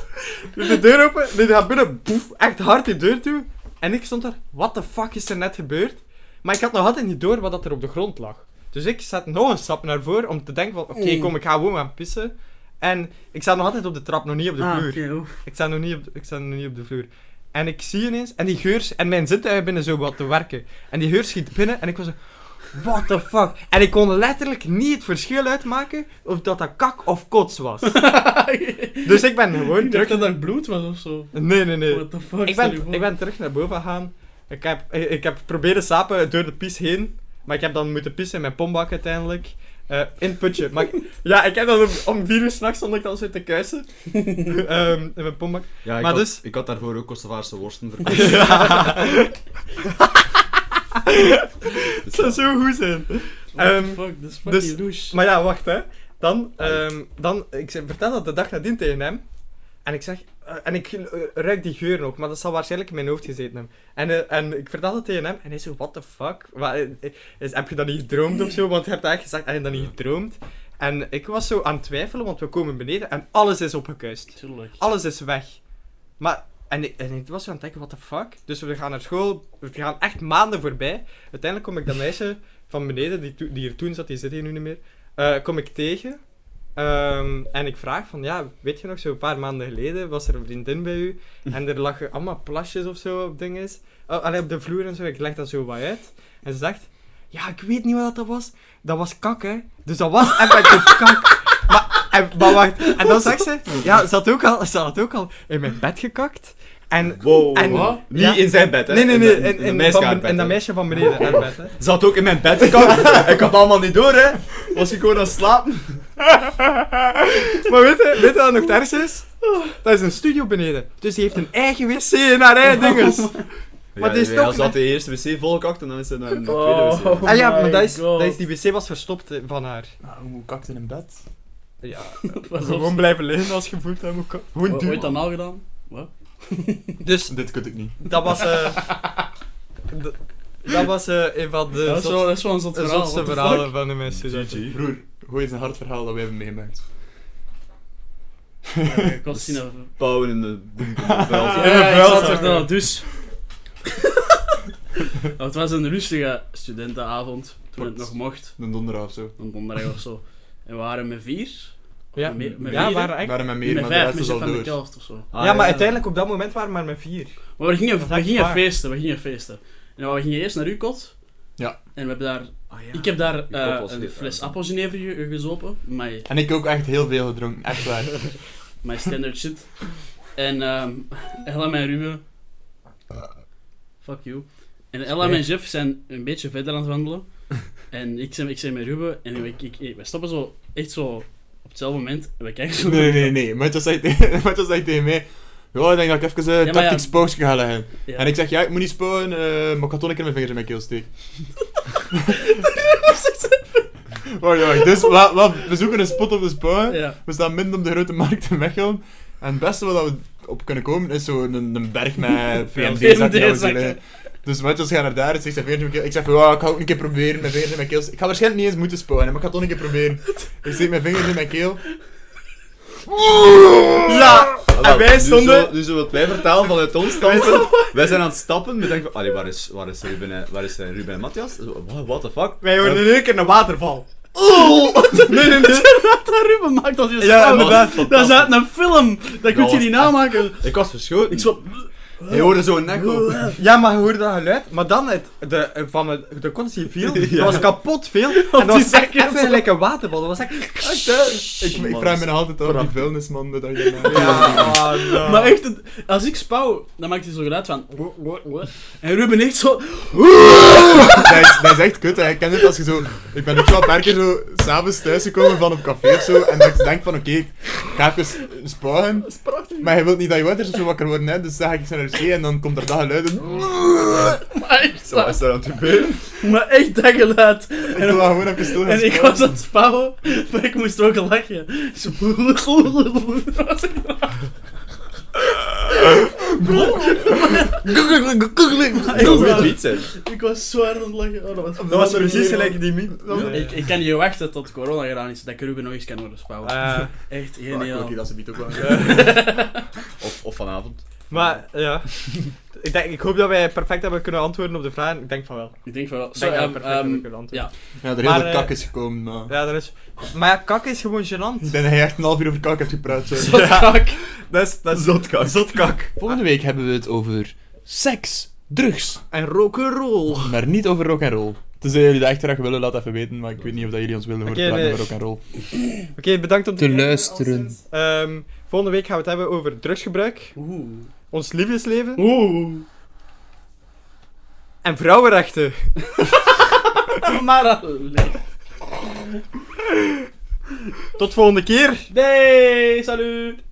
Speaker 2: Doet de deur open. Die gaat binnen. Boef, echt hard die deur toe. En ik stond daar. What the fuck is er net gebeurd? Maar ik had nog altijd niet door wat dat er op de grond lag. Dus ik zat nog een stap naar voren om te denken van... Oké,
Speaker 1: Mm.
Speaker 2: kom, ik ga gewoon gaan pissen. En ik zat nog altijd op de trap, nog niet op de
Speaker 1: Ah,
Speaker 2: vloer.
Speaker 1: oké, oef.
Speaker 2: Ik sta nog niet op, ik sta nog niet op de vloer. En ik zie ineens, en die geur, en mijn zintuigen binnen zo wat te werken. En die geur schiet binnen en ik was zo, what the fuck? En ik kon letterlijk niet het verschil uitmaken of dat dat kak of kots was. dus ik ben gewoon
Speaker 1: Ik dacht
Speaker 2: terug...
Speaker 1: dat dat bloed was of zo.
Speaker 2: Nee, nee, nee.
Speaker 1: What the fuck?
Speaker 2: Ik
Speaker 1: stel je
Speaker 2: ben,
Speaker 1: voor.
Speaker 2: ik ben terug naar boven gegaan. Ik heb, eh, ik, ik heb proberen slapen door de pies heen. Maar ik heb dan moeten pissen in mijn pombak uiteindelijk. Eh, in het putje. Maar ik- ja, ik heb dan om, om vier uur s'nachts stond ik dan zo te kuisen. Ehm, in mijn pombak.
Speaker 3: Ja, ik,
Speaker 2: Maar
Speaker 3: had,
Speaker 2: dus-
Speaker 3: ik had daarvoor ook Kosovaarse worsten verkocht.
Speaker 2: Het zou zo goed zijn.
Speaker 1: What
Speaker 2: Ehm,
Speaker 1: the fuck, dat is
Speaker 2: dus-
Speaker 1: fucking douche.
Speaker 2: Maar ja, wacht hè. Dan, ehm, dan ik zeg- vertel dat de dag nadien tegen hem. En ik zeg, eh, en ik eh, ruik die geur nog, maar dat zal waarschijnlijk in mijn hoofd gezeten hebben. En, eh, en ik vertel dat tegen hem en hij zo, what the fuck? Wat, eh, eh, is, heb je dat niet gedroomd of zo? Want je hebt dat echt gezegd, heb je dat niet gedroomd? En ik was zo aan het twijfelen, want we komen beneden en alles is opgekuist.
Speaker 1: Tuurlijk.
Speaker 2: Alles is weg. Maar, en, ik- en ik was zo aan het denken, what the fuck? Dus we gaan naar school, we gaan echt maanden voorbij. Uiteindelijk kom ik dat meisje van beneden, die, toe- die hier toen zat, die zit hier nu niet meer, eh, kom ik tegen. Ehm, en ik vraag van, ja, weet je nog, zo'n paar maanden geleden was er een vriendin bij u en er lagen allemaal plasjes of zo op dingen. Oh, allee, op de vloer en zo, ik leg dat zo wat uit. En ze zegt, ja, ik weet niet wat dat was. Dat was kak, hè. Dus dat was effectief kak. Maar, en, maar wacht, en dan zegt ze, ja, ze had ook al, ze had ook al in mijn bed gekakt. En,
Speaker 3: Wow.
Speaker 2: en,
Speaker 1: Wat?
Speaker 3: Niet
Speaker 2: ja.
Speaker 3: in zijn bed, hè?
Speaker 2: Nee, nee, nee,
Speaker 3: In,
Speaker 2: in,
Speaker 3: de-
Speaker 2: in,
Speaker 3: in, de
Speaker 2: van-
Speaker 3: meisjesbed,
Speaker 2: in dat
Speaker 3: hè.
Speaker 2: meisje van beneden haar bed, hè.
Speaker 3: Zat ook in mijn bed. Ik had, ik had allemaal niet door, hè? Was ik gewoon aan het slapen?
Speaker 2: Maar weet je, weet je wat nog het ergste is? Dat is een studio beneden. Dus die heeft een eigen wc in haar eigen dinges. Maar
Speaker 3: ja,
Speaker 2: die is
Speaker 3: ja,
Speaker 2: toch
Speaker 3: Als dat
Speaker 2: net-
Speaker 3: de eerste wc volkakt en dan is het naar de
Speaker 1: Oh.
Speaker 3: tweede wc.
Speaker 2: Ah ja,
Speaker 1: my
Speaker 2: maar dat is,
Speaker 1: God.
Speaker 2: dat is, die wc was verstopt eh, van haar.
Speaker 4: Nou, hoe kakt in een bed?
Speaker 2: Ja,
Speaker 1: Pas op.
Speaker 2: gewoon blijven liggen als je voelt dat moet ka-
Speaker 1: O-
Speaker 2: Gewoon
Speaker 1: Ooit
Speaker 2: doen.
Speaker 1: anaal gedaan? Wat?
Speaker 2: Dus
Speaker 4: Dit kut ik niet.
Speaker 2: dat was... eh, d- dat was eh, een van de
Speaker 1: Dat is
Speaker 2: zot-
Speaker 1: wel- dat is wel een zot
Speaker 2: de
Speaker 1: verhaal.
Speaker 2: zotste
Speaker 1: what the
Speaker 2: verhalen
Speaker 1: fuck?
Speaker 2: van de mensen.
Speaker 4: Broer, gooi eens een hard verhaal dat wij hebben meegemaakt.
Speaker 1: Ja, Ik was zien dat...
Speaker 3: Pauwen in de boem- boem- boem- vuil.
Speaker 1: Ja,
Speaker 2: In Dus- een
Speaker 1: ik zat
Speaker 2: vuilzak.
Speaker 1: er dan, dus... Nou, Het was een rustige studentenavond, toen het nog mocht.
Speaker 4: Een donderdag of zo.
Speaker 1: Een donderdag of zo. En we waren met vier.
Speaker 2: Ja,
Speaker 1: Met- met
Speaker 2: ja,
Speaker 1: vier,
Speaker 2: waren
Speaker 4: We
Speaker 2: echt...
Speaker 4: waren met meer,
Speaker 1: Met
Speaker 4: maar de
Speaker 1: vijf,
Speaker 4: rest
Speaker 1: met
Speaker 4: is
Speaker 1: Jeff
Speaker 4: al
Speaker 1: van de
Speaker 4: door.
Speaker 1: Kelft of zo.
Speaker 3: Ah,
Speaker 2: ja, maar uiteindelijk op dat moment waren we maar met vier.
Speaker 1: Maar we
Speaker 2: Dat
Speaker 1: gingen,
Speaker 2: is
Speaker 1: we
Speaker 2: echt
Speaker 1: gingen
Speaker 2: waar.
Speaker 1: feesten, we gingen feesten. En nou, we gingen eerst naar uw kot.
Speaker 4: Ja.
Speaker 1: En we hebben daar...
Speaker 3: Ah, ja.
Speaker 1: Ik heb daar
Speaker 3: Uw kot
Speaker 1: eh,
Speaker 3: was
Speaker 1: een
Speaker 3: dit,
Speaker 1: fles
Speaker 3: ja.
Speaker 1: appelgenever ge- eh, gezopen. Maar
Speaker 4: En ik ook echt heel veel gedronken, echt waar.
Speaker 1: Mijn standard shit. En ehm Ella en Ruben. Fuck you. En Ella en Jeff zijn een beetje verder aan het wandelen. En ik zei, ik zei met Ruben. En ik, ik, ik- wij stoppen zo echt zo op hetzelfde moment. En we kijken zo.
Speaker 4: Nee, nee, nee. Matthias zei, tegen- Matthias zei tegen mij... Ja, ik denk dat ik even een
Speaker 1: Ja, maar ja.
Speaker 4: tactics poosje ga leggen.
Speaker 1: Ja.
Speaker 4: En ik zeg, ja, ik moet niet sporen, eh, maar ik had toch een keer mijn vingers in mijn keel steken. Wacht, wacht. Dus we, we, we zoeken een spot op de sporen.
Speaker 1: Ja.
Speaker 4: We staan midden op de grote markt in Mechelen. En het beste wat we op kunnen komen is zo'n een, een berg met VMD-zakken.
Speaker 1: VMD-zakken.
Speaker 4: Dus Matthias gaat naar daar en zegt zijn vingers in mijn keel. Ik zeg, van, ja, ik ga ook een keer proberen mijn vingers in mijn keel. te- Ik ga waarschijnlijk niet eens moeten sporen, maar ik ga toch een keer proberen. Ik steek mijn vingers in mijn keel.
Speaker 2: Ja!
Speaker 3: Ah,
Speaker 2: En
Speaker 3: wel,
Speaker 2: wij
Speaker 3: nu
Speaker 2: stonden...
Speaker 3: Zo, nu zo wat wij vertellen vanuit ons standpunt. wij zijn aan het stappen. We denken van, allee, waar is, waar is Ruben en, waar is eh, Ruben en Matthias? Zo, wa- What the fuck? Oh!
Speaker 2: Wij hoorden in één keer een waterval.
Speaker 1: Nee, nee, nee. dat Ruben maakt als je
Speaker 2: Ja,
Speaker 1: staat.
Speaker 2: inderdaad.
Speaker 1: Dat is uit een film. Dat kun je
Speaker 3: was
Speaker 1: niet namaken.
Speaker 3: Ik was verschoten.
Speaker 1: Ik zo...
Speaker 3: Je hoorde zo'n echo.
Speaker 2: Ja, maar je hoorde dat geluid, maar dan het, de, eh, van het, de conditie viel, dat
Speaker 3: Ja.
Speaker 2: was kapot veel, en dat was echt
Speaker 1: seconds.
Speaker 2: even gelijk een waterbal, dat was echt...
Speaker 4: Echt, hè? Ik, ik
Speaker 3: Man,
Speaker 4: vraag me nog altijd af, die
Speaker 3: prachtig.
Speaker 4: vuilnisman, dat je daarna...
Speaker 2: Ja, oh, no.
Speaker 1: Maar echt, het- als ik spouw, dan maakt hij zo geluid van...
Speaker 2: nou.
Speaker 1: En Ruben echt zo...
Speaker 4: dat, is, dat is echt kut. hè. Ik ken het als je zo... Ik ben ook wel een paar keer zo s'avonds thuisgekomen van op café of zo. En dat ik denk van, oké, ik ga even spuigen. Maar je wilt niet dat je ouders of zo wakker worden, hè. Dus dan ga ik eens naar de wc en dan komt er dat geluid in.
Speaker 1: Maar echt,
Speaker 3: Wat is daar aan het gebeuren?
Speaker 1: maar echt dat geluid.
Speaker 4: Ik wil dan gewoon even stil gaan
Speaker 1: En ik
Speaker 4: spuien.
Speaker 1: was aan het spouwen, maar ik moest ook lachen. Zo...
Speaker 3: Dat moet niet zijn.
Speaker 1: Ik was zwaar aan het lachen. Oh, dat was,
Speaker 2: Dat was precies gelijk die meme.
Speaker 1: Ja, Ik, ik kan niet wachten tot corona gedaan is, dat ik Ruben nog eens kan worden spelen.
Speaker 2: Eh,
Speaker 1: Echt
Speaker 4: Ja, ik wil ook
Speaker 1: geniaal.
Speaker 4: dat ze biedt ook wel.
Speaker 3: Of, of vanavond.
Speaker 2: maar ja, ik, denk, ik hoop dat wij perfect hebben kunnen antwoorden op de vragen. Ik denk van wel.
Speaker 1: Ik denk van wel.
Speaker 2: Ik
Speaker 1: Zo,
Speaker 2: denk dat we
Speaker 1: ehm,
Speaker 2: perfect
Speaker 1: ehm,
Speaker 2: hebben kunnen antwoorden.
Speaker 4: Ja,
Speaker 1: ja.
Speaker 4: er heel
Speaker 2: Maar,
Speaker 4: veel
Speaker 2: eh,
Speaker 4: kak is gekomen, maar...
Speaker 2: Ja, dat is. Maar ja, kak is gewoon gênant.
Speaker 4: Ik ben dat jij echt een half uur over kak hebt gepraat, sorry.
Speaker 2: Zotkak. Dat is, dat is zotkak. Zotkak.
Speaker 4: Volgende week hebben we het over seks, drugs,
Speaker 2: En rock'n'roll. Oké,
Speaker 4: maar niet over rock and roll. Tenzij jullie dat echt graag willen, laat even weten, maar ik weet niet of dat jullie ons willen horen
Speaker 2: Oké,
Speaker 4: praten
Speaker 2: nee.
Speaker 4: over rock and roll.
Speaker 2: bedankt om
Speaker 7: Te
Speaker 2: kijken,
Speaker 7: luisteren.
Speaker 2: alleszins. Ehm, volgende week gaan we het hebben over drugsgebruik,
Speaker 1: Oeh.
Speaker 2: ons liefdesleven
Speaker 1: Oeh.
Speaker 2: en vrouwenrechten.
Speaker 1: Maar dat leuk.
Speaker 2: Tot volgende keer.
Speaker 1: Nee, salut.